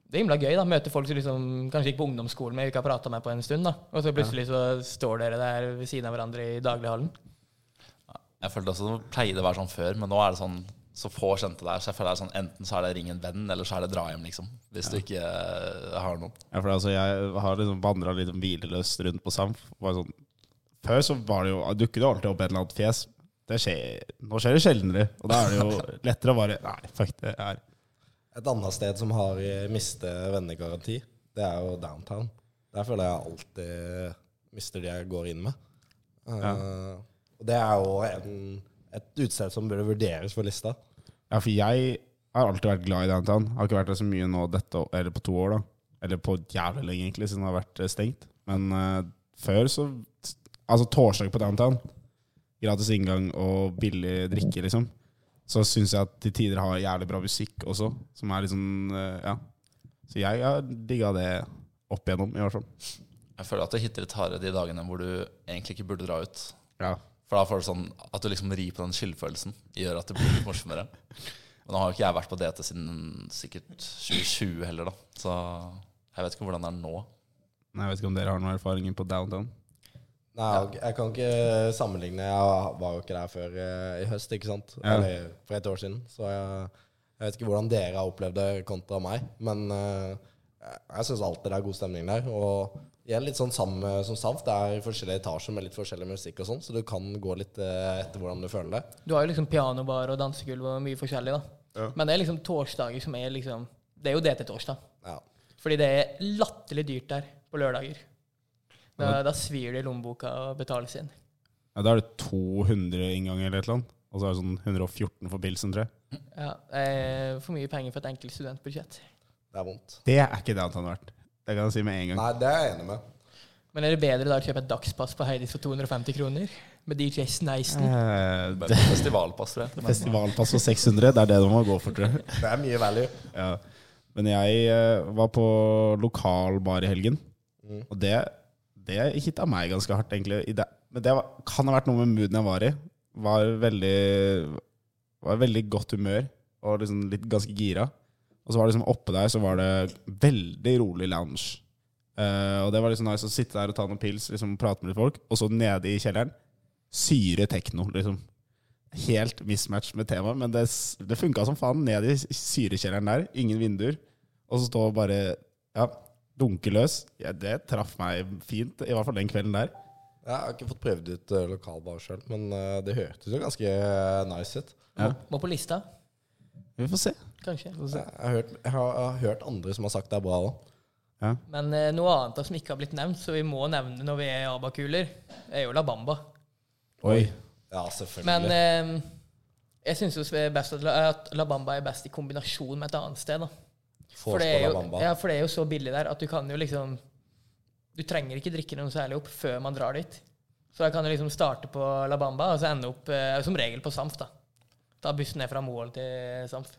det er himla gøy. da, Møte folk som liksom, kanskje gikk på ungdomsskolen, men jeg ikke har prata med på en stund. da. Og så plutselig så står dere der ved siden av hverandre i daglighallen.
Jeg følte også det pleide å være sånn før, men nå er det sånn så få kjente der. Så jeg føler det er sånn enten så er det ring en venn, eller så er det dra hjem, liksom. Hvis du ikke eh, har noen.
Ja, for altså, jeg har liksom vandra litt hvileløst rundt på Samf. Bare sånn. Før så var det jo, dukket det jo alltid opp et eller annet fjes. Det skjer, nå skjer det sjeldnere, og da er det jo lettere å bare Nei, fuck det er
Et annet sted som har eh, miste vennegaranti, det er jo downtown. Der føler jeg alltid eh, mister de jeg går inn med. Eh, Og det er jo en, et utsted som burde vurderes for lista.
Ja, for jeg har alltid vært glad i downtown. Har ikke vært der så mye nå dette, å- eller på to år, da. Eller på jævlig lenge, egentlig, siden det har vært eh, stengt. Men eh, før så Altså torsdag på downtown, gratis inngang og billig drikke, liksom. Så syns jeg at til tider har jævlig bra musikk også, som er liksom eh, Ja. Så jeg har digga det opp igjennom, i hvert fall.
Jeg føler at det hitter litt hardere de dagene hvor du egentlig ikke burde dra ut.
Ja.
For da får du sånn at du liksom rir på den skyldfølelsen. Gjør at det blir litt morsommere. Men nå har jo ikke jeg vært på DT siden sikkert 2020 heller, da. Så jeg vet ikke hvordan det er nå.
Nei, Jeg vet ikke om dere har noen erfaringer på downtown?
Nei, og jeg kan ikke sammenligne. Jeg var jo ikke der før eh, i høst, ikke sant?
Ja.
Eller for et år siden. Så jeg, jeg vet ikke hvordan dere har opplevd det kontra meg. Men eh, jeg syns alltid det er god stemning der. Og igjen litt sånn samme som Saft. Det er i forskjellige etasjer med litt forskjellig musikk og sånn, så du kan gå litt eh, etter hvordan du føler det.
Du har jo liksom pianobar og dansegulv og mye forskjellig, da. Men det er liksom torsdager som er liksom Det er jo det til torsdag.
Ja.
Fordi det er latterlig dyrt der på lørdager. Da, da svir det i lommeboka å betale sin.
Ja, Da er det 200 innganger eller et eller annet. Og så er det sånn 114 for pilsen, tror jeg.
Ja, eh, for mye penger for et enkelt studentbudsjett.
Det er vondt.
Det er ikke downtown verdt. Det kan jeg si med en gang.
Nei, det er jeg enig med.
Men er det bedre da å kjøpe et dagspass på Heidis for 250 kroner? Med DJ Sneisen?
Eh,
Bare
det-
Festivalpass, tror jeg. Men
Festivalpass for 600, det er det du må gå for, tror jeg.
Det er mye value.
Ja. Men jeg eh, var på lokal bar i helgen, og det, det hitta meg ganske hardt, egentlig. I det. Men det var, kan ha vært noe med mooden jeg var i. Var veldig, var i veldig godt humør. og liksom litt ganske gira. Og så var det liksom oppe der så var det veldig rolig lounge. Eh, og det var liksom nice å sitte der og ta noen pils liksom prate med litt folk. Og så nede i kjelleren syre tekno, liksom. Helt mismatch med temaet, men det, s- det funka som faen. Ned i syrekjelleren der, ingen vinduer. Og så stå og bare ja, dunke løs. Ja, det traff meg fint, i hvert fall den kvelden der.
Jeg har ikke fått prøvd ut eh, lokalbar sjøl, men eh, det hørtes jo ganske eh, nice ut.
Må på lista,
Vi får se.
kanskje.
Jeg har, hørt, jeg, har, jeg har hørt andre som har sagt det er bra òg.
Men eh, noe annet da som ikke har blitt nevnt, så vi må nevne når vi er i ABBA-kuler, er jo La Bamba.
Oi.
Ja, selvfølgelig.
Men eh, jeg syns jo best at La, at La Bamba er best i kombinasjon med et annet sted. da. For det, er jo, ja, for det er jo så billig der at du kan jo liksom Du trenger ikke drikke noe særlig opp før man drar dit. Så da kan du liksom starte på La Bamba og så ende opp eh, som regel på Samf. da. Ta bussen ned fra Moholt til Samf.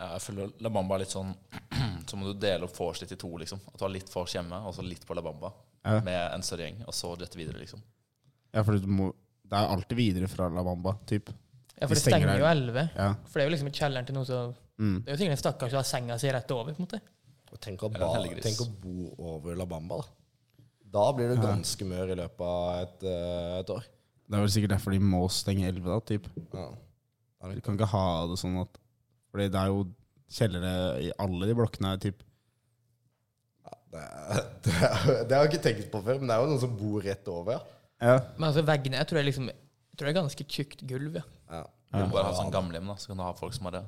Ja, Jeg føler La Bamba er litt sånn [CLEARS THROAT] Så må du dele opp vors litt i to, liksom. At du har litt vors hjemme, og så litt på La Bamba.
Ja.
Med en større gjeng, og så dette videre, liksom.
Ja, for du må, det er alltid videre fra La Bamba, typ.
Ja,
De
for det
stenger
stenger
der.
jo elleve.
Ja.
For det er jo liksom i kjelleren til noen som
Mm.
Det er jo sikkert en stakkar som har senga si rett over. på en måte.
Og Tenk å,
Eller
ba,
en helggris.
tenk å bo over La Bamba, da. Da blir du ganske mør i løpet av et, eh, et år.
Det er vel sikkert derfor de må stenge 11, da, typ.
Ja.
Du kan ikke ha det sånn at Fordi det er jo kjellere i alle de blokkene her, typ.
Det, [LAUGHS] det, det har jeg ikke tenkt på før, men det er jo noen som bor rett over.
Ja.
Men altså veggene jeg tror, det er liksom, jeg tror det er ganske tjukt gulv. ja.
Ja.
Du kan bare ha sånn gamlehjem, da. Så kan du ha folk som bare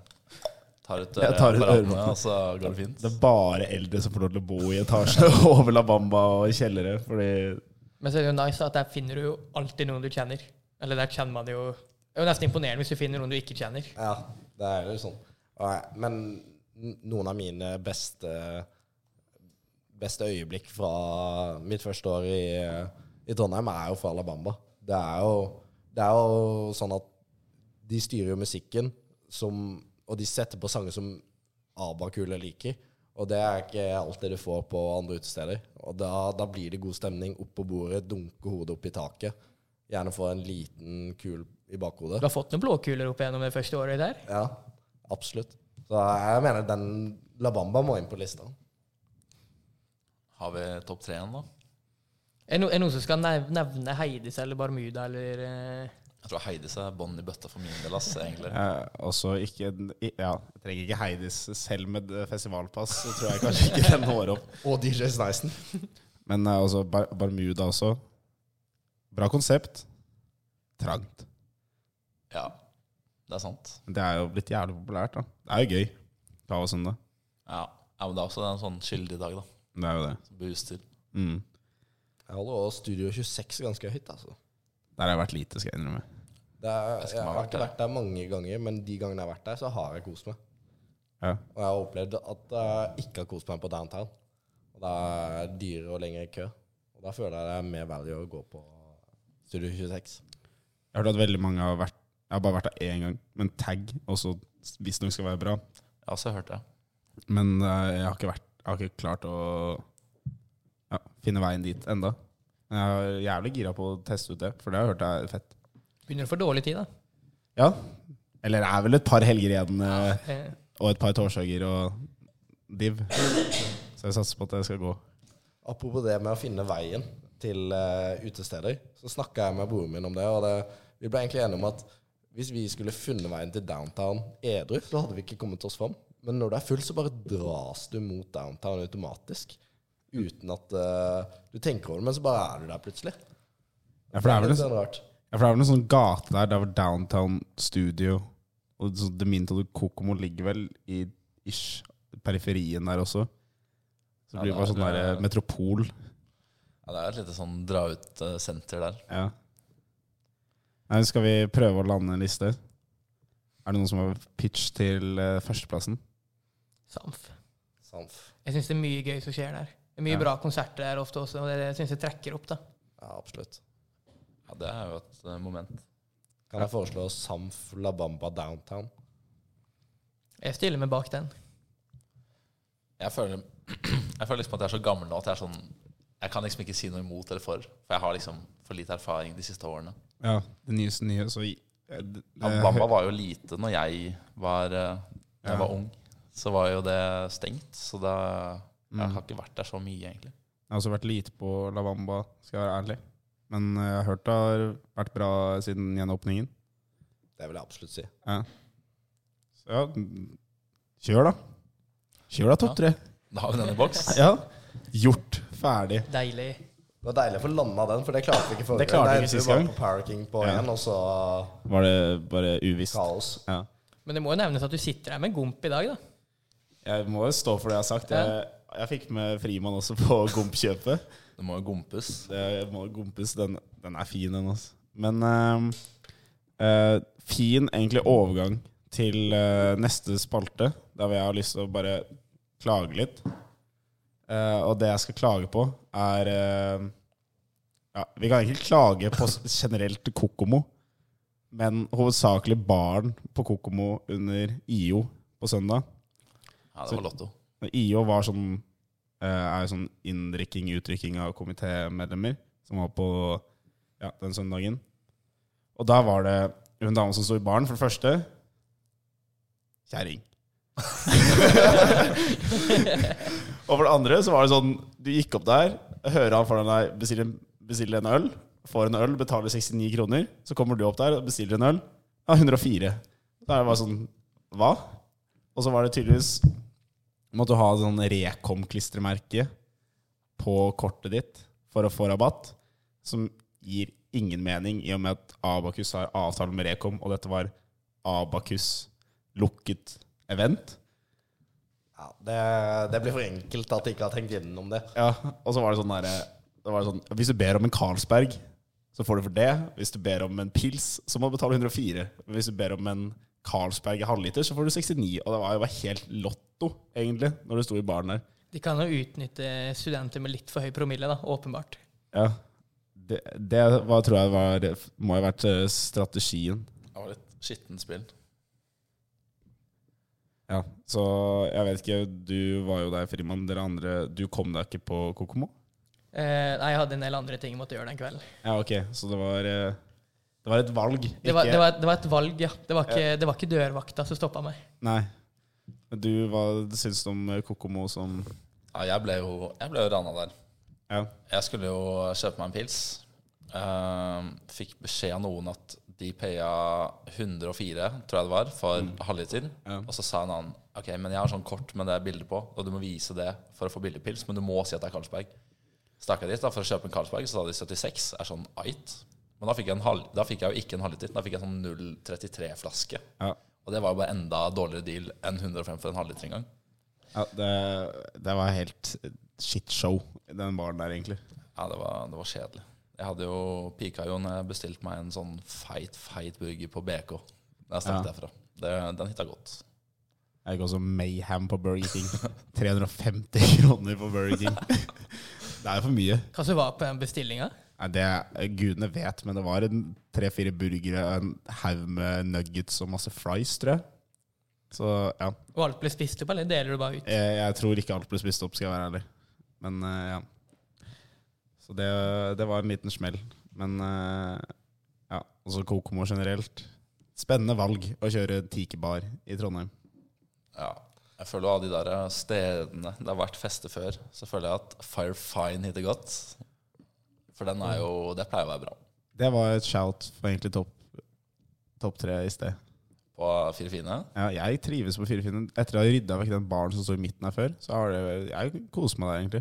tar ut
Jeg tar ut
øremålene,
øremålene.
og så går det fint.
Det er bare eldre som får lov til å bo i etasje [LAUGHS] over La Bamba og i kjellere, fordi
Men så er det jo nice at der finner du jo alltid noen du kjenner. Eller der kjenner man jo Det er jo nesten imponerende hvis du finner noen du ikke kjenner.
Ja, det er jo sånn. Og jeg- Men n- noen av mine beste, beste øyeblikk fra mitt første år i, i Trondheim er jo fra Alabama. Det er jo, det er jo sånn at de styrer jo musikken, som, og de setter på sanger som ABBA-kule liker. Og det er ikke alltid du får på andre utesteder. Og da, da blir det god stemning opp på bordet, dunke hodet opp i taket. Gjerne få en liten kul i bakhodet.
Du har fått noen blåkuler opp gjennom det første året der.
Ja, absolutt. Så jeg mener den La Bamba må inn på lista.
Har vi topp tre igjen, da?
Er det no, er det noen som skal nev- nevne Heidis eller Barmuda eller eh,
Jeg tror Heidis er bånn i bøtta for min del, ass, egentlig.
eh, også ikke Ja, jeg trenger ikke Heidis selv med eh, festivalpass, så tror jeg kanskje ikke den når opp.
Og DJ Sneisen.
Men eh, altså, Bar Barmuda også. Bra konsept. Trangt.
Ja, det er sant.
Men Det er jo blitt jævlig populært, da. Det er jo gøy. sånn, Kava søndag.
Ja. ja, men det er også en sånn skyldig dag, da.
Det er jo det.
Som booster.
Mm.
Jeg holder også Studio 26 ganske høyt, altså.
Der har jeg vært lite, skal jeg innrømme.
Det er,
Jeg
jeg,
skal ha
har
vært
ikke
der.
vært der mange ganger, men de gangene jeg har vært der, så har jeg kost meg.
Ja.
Og jeg har opplevd at jeg ikke har kost meg på downtown. Og det er dyrere og lengre kø. Og da føler jeg det er mer value å gå på Studio 26.
Jeg har hørt at veldig mange har vært Jeg har bare vært der én gang, men tag også visstnok skal være bra.
Jeg har også hørt det.
Men eh, jeg har ikke vært Jeg har ikke klart å ja, finne veien dit enda Men Jeg er jævlig gira på å teste ut det, for det har jeg hørt er fett.
Begynner å få dårlig tid, da.
Ja. Eller det er vel et par helger igjen, eh,
Eh,
og et par torsdager og div. Så jeg satser på at det skal gå.
Apropos det med å finne veien til eh, utesteder, så snakka jeg med broren min om det, og det, vi ble egentlig enige om at hvis vi skulle funnet veien til downtown edru, så hadde vi ikke kommet oss fram. Men når du er full, så bare dras du mot downtown automatisk. Uten at eh, du tenker over det, men så bare er du der plutselig.
Ja, for det er vel
litt
en,
sånn rart.
ja, for det er vel en sånn gate der, der hvor Downtown Studio og så Deminto de Kokomo ligger vel i ish, periferien der også. Så det blir
Ja, det
bare
er
sånn der
vel-
eh, metropol.
Ja, det er et lite sånn dra-ut-senter der.
Ja. Nei, skal vi prøve å lande en liste? Er det noen som har pitch til eh, førsteplassen?
Samf.
Sant.
Jeg syns det er mye gøy som skjer der. Det er mye
Ja.
bra konserter der ofte også, og det syns jeg trekker opp, da.
Ja, absolutt.
Ja, Det er jo et eh, moment.
Kan jeg foreslå Samf La Bamba Downtown?
Jeg stiller meg bak den.
Jeg føler, [CLEARS THROAT] jeg føler liksom at jeg er så gammel nå at jeg er sånn Jeg kan liksom ikke si noe imot eller for. For jeg har liksom for lite erfaring de siste årene.
Ja, det nyeste nye. Så, i- eh, d-
Ja,
eh,
Bamba var jo lite når jeg var eh, da jeg var ung, så var jo det stengt. Så da Jeg
Mm.
har ikke vært der så mye, egentlig.
Jeg har også vært lite på La Bamba, skal jeg være ærlig. Men eh, jeg har hørt det har vært bra siden gjenåpningen.
Det vil jeg absolutt si.
Ja. Så ja, kjør da. Kjør da, topp tre.
Da har vi den i boks.
Ja. Gjort. Ferdig.
Deilig.
Det var deilig å få landa den, for det klarte vi ikke forrige
Det klarte vi
Nei,
ikke sist
var
gang.
på Power King på
Ja.
én, og så
Var det bare uvisst?
kaos.
Ja.
Men det må jo nevnes at du sitter her med gomp i dag, da.
Jeg må jo stå for det jeg har sagt. Jeg, jeg fikk med Frimann også på [LAUGHS] gompkjøpet.
Det må jo gompes.
Det må gompes. Den, den er fin, den, altså. Men eh, eh, fin egentlig overgang til eh, neste spalte, der hvor jeg har lyst til å bare klage litt. Eh, og det jeg skal klage på, er eh, ja, Vi kan egentlig klage på s- generelt Kokomo, men hovedsakelig baren på Kokomo under IO på søndag.
Ja, det var Lotto.
Men IO var sånn eh, Er jo sånn inndrikking, utdrikking av komitémedlemmer, som var på ja, den søndagen. Og der var det hun dame som sto i baren, for det første kjerring. [LAUGHS] og for det andre så var det sånn Du gikk opp der, hører han foran deg bestille, bestille en øl, får en øl, betaler 69 kroner. Så kommer du opp der og bestiller en øl. Ja, 104. Da er det bare sånn Hva? Og så var det tydeligvis måtte du ha sånn Rekom-klistremerke på kortet ditt for å få rabatt, som gir ingen mening i og med at Abakus har avtale med Rekom, og dette var Abakus lukket event.
Ja, det, det blir for enkelt at de ikke har tenkt gjennom det.
Ja, og så var det sånn derre det var sånn, Hvis du ber om en Carlsberg, så får du for det. Hvis du ber om en pils, så må du betale 104. Hvis du ber om en Carlsberg i halvliter, så får du 69. Og det var jo bare helt lotto, egentlig, når du sto i baren der.
De kan jo utnytte studenter med litt for høy promille, da, åpenbart.
Ja. Det, det var, tror jeg var, må ha vært eh, strategien.
Det var litt skittent spill.
Ja. Så jeg vet ikke, du var jo der, Frimann. Dere andre, du kom deg ikke på Kokomo?
Eh, nei, jeg hadde en del andre ting jeg måtte gjøre den kvelden.
Ja, ok. Så det var, eh, det var et valg.
Det var,
ikke-
det var, det var et valg, ja. Det var ikke, det var ikke dørvakta som stoppa meg.
Nei. Men Du, hva syns du om eh, Kokomo som
Ja, jeg ble jo, jeg ble jo rana der.
Ja.
Jeg skulle jo kjøpe meg en pils. Ehm, fikk beskjed av noen at de paya 104, tror jeg det var, for halvliter. Og så sa en annen Ok, men jeg har sånn kort med det bildet på, og du må vise det for å få billig pils, men du må si at det er Carlsberg. Stakk jeg dit da for å kjøpe en Carlsberg, så sa de 76. Er sånn ait. Men da fikk, jeg en halv, da fikk jeg jo ikke en halvliter, da fikk jeg en sånn 0,33-flaske.
Ja.
Og det var jo bare enda dårligere deal enn 105 for en halvliter engang.
ja det, det var helt shitshow, den baren der, egentlig.
Ja, det var, det var kjedelig. Jeg hadde jo pika jo når jeg bestilte meg en sånn feit, feit burger på BK. Da jeg stakk
Ja.
derfra. Det, den hitta godt.
Jeg gikk også Mayhem på Burger
[LAUGHS]
King. 350 kroner på Burger King. [LAUGHS] Det er jo for mye.
Hva som var på den bestillinga?
Nei, det Gudene vet, men det var en tre-fire burgere, en haug med nuggets og masse fries, tror jeg. Så ja.
Og alt ble spist opp, eller deler du bare ut?
Jeg, jeg tror ikke alt ble spist opp, skal jeg være ærlig. Men eh, ja. Så det, det var en liten smell. Men eh, ja, også Kokomo generelt. Spennende valg å kjøre tikebar i Trondheim.
Ja. Jeg føler jo av de der stedene det har vært fester før, så føler jeg at Fire Fine hitter godt. For den er jo Det pleier å være bra.
Det var et shout for egentlig topp topp tre i sted.
På Fire Fine.
Ja, jeg trives på Firefinnen. Etter å ha rydda vekk den baren som sto i midten her før, så har det, jeg koser meg der, egentlig.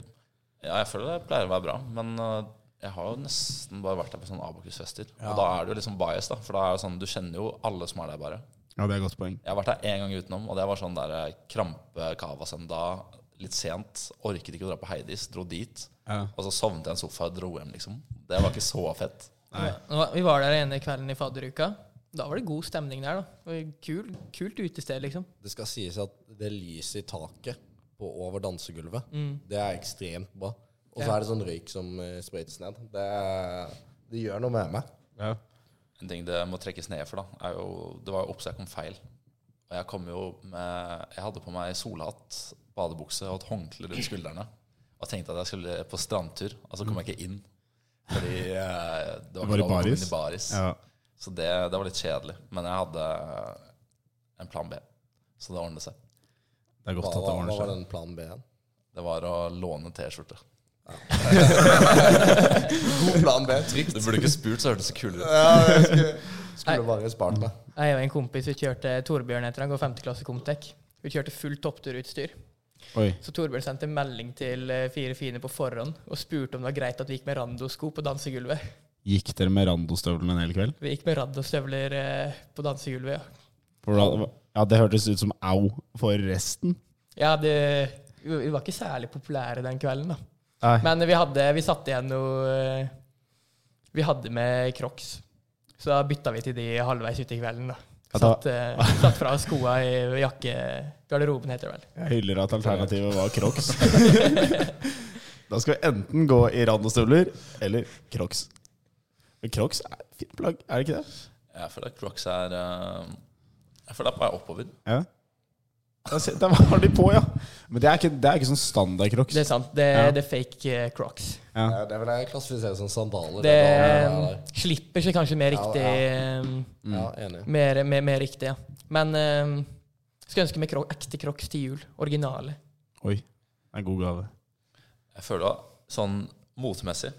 Ja, jeg føler det pleier å være bra, men øh, jeg har jo nesten bare vært der på sånne Abakus-fester. Og da er det jo liksom bias, da. For da er det sånn, du kjenner jo alle som er der, bare.
Ja, det er et godt poeng.
Jeg har vært der én gang utenom, og det var sånn der eh, krampe kavasenda. Litt sent. Orket ikke å dra på Heidis, dro dit.
Ja.
Og så sovnet jeg i en sofa og dro hjem, liksom. Det var ikke så fett.
Nå var- Vi var der ene kvelden i fadderuka. Da var det god stemning der, da. Og Kul, kult utested, liksom.
Det skal sies at det lyset i taket på over dansegulvet, det er ekstremt bra. Og så
Mm. Ja.
er det sånn røyk som eh, sprøytes ned. Det, det gjør noe med meg.
Ja.
En ting det må trekkes ned for, da, er jo Det var jo oppsett om feil. Og jeg kom jo med Jeg hadde på meg solhatt, badebukse og et håndkle rundt skuldrene. Og tenkte at jeg skulle på strandtur, og så kom jeg ikke inn. Fordi eh, det var
Var
ikke
det
lov å komme
baris?
inn i baris.
Ja.
Så det, det var litt kjedelig. Men jeg hadde en plan B. Så det ordnet seg.
Det er
Hva,
godt at det
hva, hva
ordner
var
seg.
den planen
[LAUGHS]
B-en?
Det var å låne T-skjorte.
God plan B. Trygt.
Du burde ikke spurt, så hørtes det kulere ut.
Ja, jeg skulle, skulle bare spart meg.
Jeg og en kompis vi kjørte Torbjørn etter han går 5. klasse Comtec. Vi kjørte fullt toppturutstyr.
Oi.
Så Torbjørn sendte melding til eh, fire fine på forhånd og spurte om det var greit at vi gikk med randosko på dansegulvet.
Gikk dere med randostøvlene en hel kveld?
Vi gikk med randostøvler eh, på dansegulvet, ja.
For da, ja, det hørtes ut som au for resten.
ja det, vi vi var ikke særlig populære den kvelden, da.
Nei.
Men vi, hadde, vi satte igjen noe eh, Vi hadde med crocs. Så da bytta vi til de halvveis ute i kvelden. da.
Ja, da-
Satt, eh, satt fra oss skoa i jakkegarderoben, heter det vel.
Jeg hyller at alternativet var
[LAUGHS]
crocs. da skal vi enten gå i randostøvler eller crocs. Men crocs er et fint plagg, er det ikke det?
Jeg føler at Crocs er eh, Jeg føler det er på vei oppover.
Ja. Da se- Der var de på, ja. Men det er ikke, det er ikke sånn standard crocs.
Det er sant. Det,
Ja.
det er fake eh, crocs.
Ja, det vil jeg klassifisere som sandaler.
Det
er da-
eh, slipper seg kanskje mer
Ja,
riktig. eh,
Mm.
Ja, enig.
Mer, mer, mer riktig, ja. Men eh, skulle ønske meg croc, ekte crocs til jul. Originale.
Oi, det er en god gave.
Jeg føler at sånn motemessig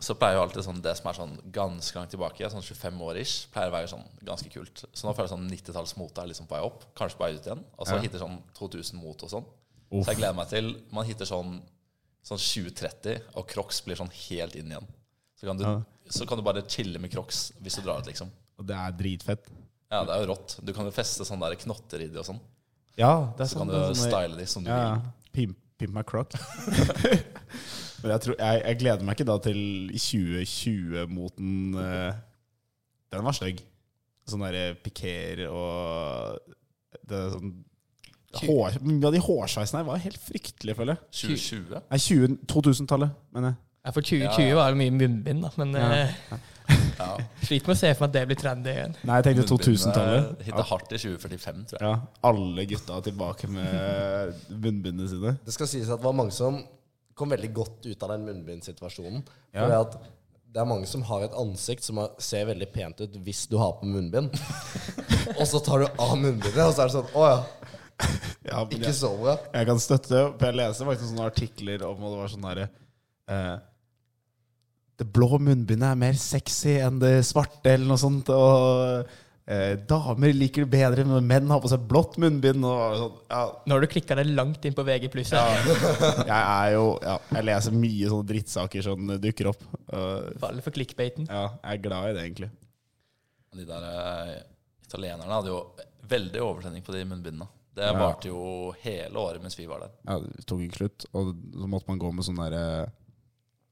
så pleier jo alltid sånn det som er sånn ganske langt tilbake, sånn 25 år ish, pleier å være sånn ganske kult. Så nå føler jeg sånn 90-tallsmote er liksom på vei opp, kanskje på vei ut igjen. Og så hitter sånn 2000-mot og sånn. Så jeg gleder meg til man hitter sånn, sånn 2030, og Crocs blir sånn helt inn igjen. Så kan, du,
Ja.
så kan du bare chille med Crocs hvis du drar ut, liksom.
Og det er dritfett.
Ja, det er jo rått. Du kan jo feste sånne der knotter i de og sånn.
Ja, det er
Så kan
sant.
du
det er sånn-
style de som du
Ja,
vil.
ja. pimp, pimp my croc. Men jeg, tror, jeg, jeg gleder meg ikke da til 2020-moten. eh, den var stygg. Sånn derre piker og det er sånn hår, Mye av de hårsveisene her var helt fryktelige, føler jeg.
2020?
Nei, 20 2000-tallet, mener jeg.
Ja, for 2020 var det mye munnbind, da. Men eh,
Ja.
[LAUGHS] sliter med å se for meg at det blir trendy igjen.
Nei, jeg tenkte
Munnbindene
2000-tallet.
Hitte Eh, hardt i 2045, tror jeg.
Ja, alle gutta tilbake med munnbindene sine.
Det skal sies at det var mange som kom veldig godt ut av den munnbindsituasjonen.
Ja.
Fordi at det er mange som har et ansikt som har- ser veldig pent ut hvis du har på munnbind. og så tar du av munnbindet, og så er det sånn Å ja,
Ja, men
ikke
jeg-
så bra.
Jeg kan støtte det. for Jeg leser faktisk sånne artikler om og det var sånn derre eh, Det blå munnbindet er mer sexy enn det svarte, eller noe sånt. Og eh, damer liker det bedre når menn har på seg blått munnbind. Og sånn. ja,
Nå har du klikka deg langt inn på VG+. Ja.
jeg er jo ja, Jeg leser mye sånne drittsaker som dukker opp. og
Faller for clickbaiten.
ja, jeg er glad i det, egentlig.
De der eh, italienerne hadde jo veldig overtenning på de munnbindene. Det varte jo hele året mens vi var der.
Ja, det tok ikke slutt, og så måtte man gå med sånn derre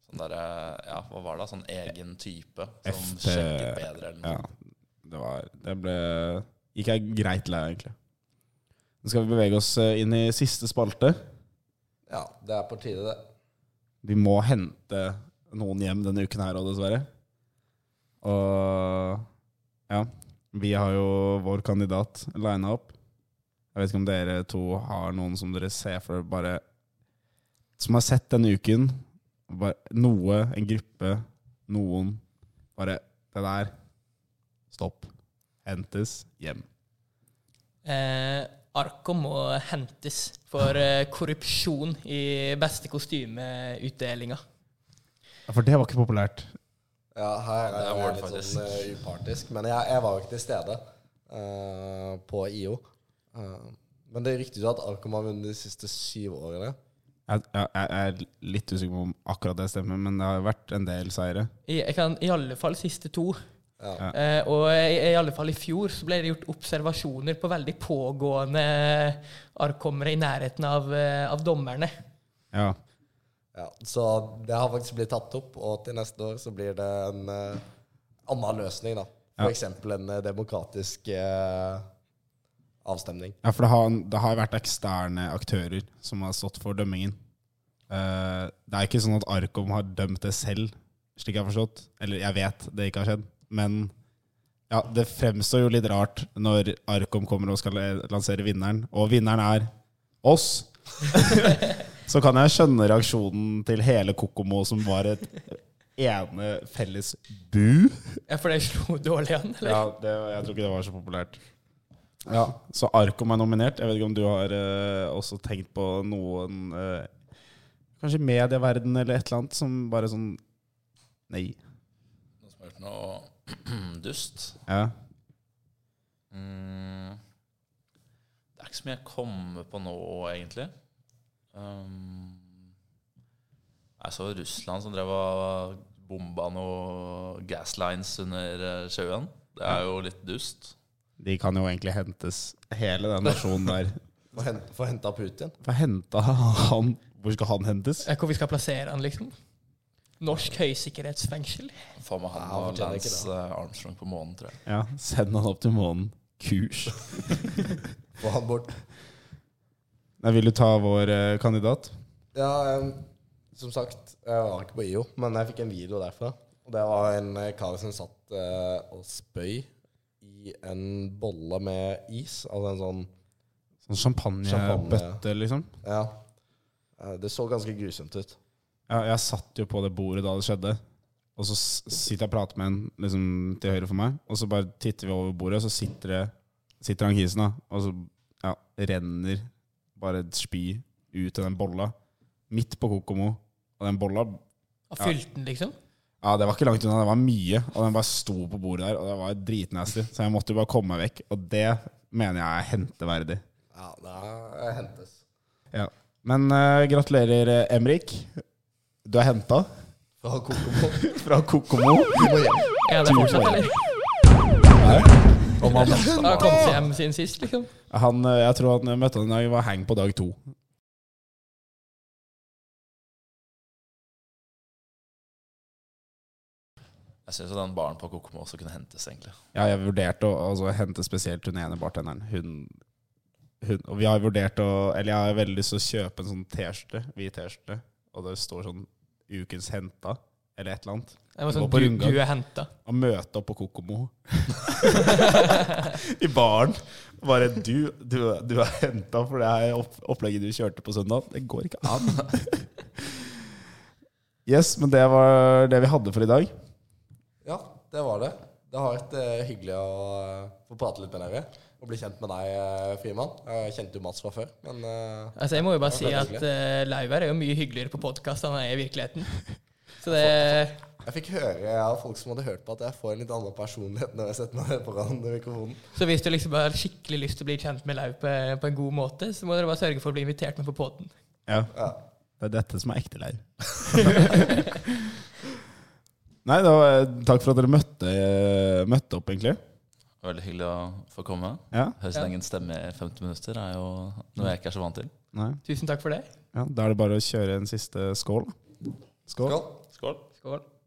Sånn der, eh, ja, hva var det? da? Sånn egen type som
FT
sjekket bedre eller noe.
Ja, det var Det ble Gikk jeg greit lei, egentlig. Nå skal vi bevege oss eh, inn i siste spalte.
Ja, det er på tide, det.
Vi må hente noen hjem denne uken her òg, dessverre. Og ja. Vi har jo vår kandidat lina opp. Jeg vet ikke om dere to har noen som dere ser for dere bare Som har sett denne uken. Bare, noe, en gruppe, noen. Bare Det der. Stopp. Hentes hjem.
Eh, Arko må hentes for eh, korrupsjon i beste kostymeutdelinga.
Ja, for det var ikke populært.
Ja, her er
Det er
jeg
vårt,
litt
faktisk.
sånn eh, upartisk. Men jeg, jeg var jo ikke til stede eh, på IO. Eh, men det ryktes jo at Arkom har vunnet de siste syv årene.
Jeg, jeg, jeg er litt usikker på om akkurat det stemmer, men det har vært en del seire.
I, jeg kan, I alle fall siste to.
Ja.
Eh, og i, i alle fall i fjor så ble det gjort observasjoner på veldig pågående arkommere i nærheten av, eh, av dommerne.
Ja.
Ja, så det har faktisk blitt tatt opp, og til neste år så blir det en eh, annen løsning, da. For eksempel en eh, demokratisk eh, avstemning.
Ja, for det har, det har vært eksterne aktører som har stått for dømmingen. Eh, det er ikke sånn at Arkom har dømt det selv, slik jeg har forstått. Eller jeg vet det ikke har skjedd, men ja, det fremstår jo litt rart når Arkom kommer og skal lansere vinneren, og vinneren er oss. [LAUGHS] Så kan jeg skjønne reaksjonen til hele Kokomo som var et ene felles bu.
Ja, for det slo dårlig an, eller?
Ja, det, jeg tror ikke det var så populært. Ja, så Arkom er nominert. Jeg vet ikke om du har eh, også tenkt på noen eh, Kanskje medieverden eller et eller annet som bare sånn Nei.
Noen som har gjort noe [CLEARS THROAT] dust?
Ja.
Mm. Det er ikke så mye jeg kommer på nå, egentlig. Um, jeg så Russland som drev og bomba noe gasslines under eh, sjøen. Det er jo litt dust.
De kan jo egentlig hentes, hele den nasjonen [LAUGHS] der.
Få hent- Få henta Putin.
Få henta han Hvor skal han hentes?
Eh, Hvor vi skal plassere han, liksom? Norsk høysikkerhetsfengsel.
Få med han
Ja, han
og
fortjener ikke
Lance eh, Armstrong på månen, tror jeg.
Ja, Send han opp til månen. Kurs.
Få han bort.
Nei, vil du ta vår eh, kandidat?
Ja, em, som sagt, jeg var ikke på IO, men jeg fikk en video derfra. Og det var en eh, kar som satt eh, og spøy i en bolle med is. Altså en sånn
Sånn champagnebøtte, liksom?
Ja. Eh, Det så ganske grusomt ut.
Ja, jeg satt jo på det bordet da det skjedde. Og så s- sitter jeg og prater med en liksom, til høyre for meg, og så bare titter vi over bordet, og så sitter, det, sitter han kisen, da. Og så ja, renner bare et spy ut av den bolla. Midt på Kokomo. Og den bolla
Og fylte den, liksom.
Ja, det var ikke langt unna, det var mye. Og den bare sto på bordet der, og det var dritnasty. Så jeg måtte jo bare komme meg vekk. Og det mener jeg er henteverdig.
Ja, det hentes.
Ja. Men eh, gratulerer, eh, Emrik. Du er henta
Fra Kokomo.
fra Kokomo.
Er det fortsatt, eller?
Om han
Han har kommet seg hjem siden sist, liksom.
Han, eh, jeg tror han jeg møtte han i dag var hang på dag to.
Jeg syns den baren på Kokomo også kunne hentes, egentlig.
Ja, jeg vurderte å altså, hente spesielt hun ene bartenderen. Hun, hun, og vi har vurdert å Eller jeg har veldig lyst til å kjøpe en sånn T-skjorte, hvit T-skjorte, og det står sånn 'Ukens henta' eller et eller annet.
Det var
Gå
sånn,
på
du,
rundgang.
du er henta.
Og møte opp på Kokomo [LAUGHS] i baren. Bare du, du, du er henta for det her opp, opplegget du kjørte på søndag. Det går ikke an. Yes, men det var det vi hadde for i dag.
Ja, det var det. Det har vært eh, hyggelig å eh, få prate litt med dere. Og bli kjent med deg, eh, Frimann. Jeg kjente jo Mats fra før, men eh,
Altså, jeg må jo bare si
det var
at
hyggelig.
uh, Lauer er jo mye hyggeligere på podkast enn han er i virkeligheten. Så det
jeg fikk høre av folk som hadde hørt på, at jeg får en litt annen personlighet når jeg setter meg foran mikrofonen.
Så hvis du liksom har skikkelig lyst til å bli kjent med Lau på, eh, på en god måte, så må dere bare sørge for å bli invitert med på poden.
Ja.
Ja.
Det er dette som er ekte leir. [LAUGHS] Nei, det var, eh, takk for at dere møtte, eh, møtte opp, egentlig.
Veldig hyggelig å få komme.
Ja,
Høre sin
Ja.
egen stemme i 50 minutter er jo noe jeg ikke er så vant til.
nei.
Tusen takk for det.
Ja, Da er det bare å kjøre en siste skål. Skål.
Skål.
Skål.
Skål.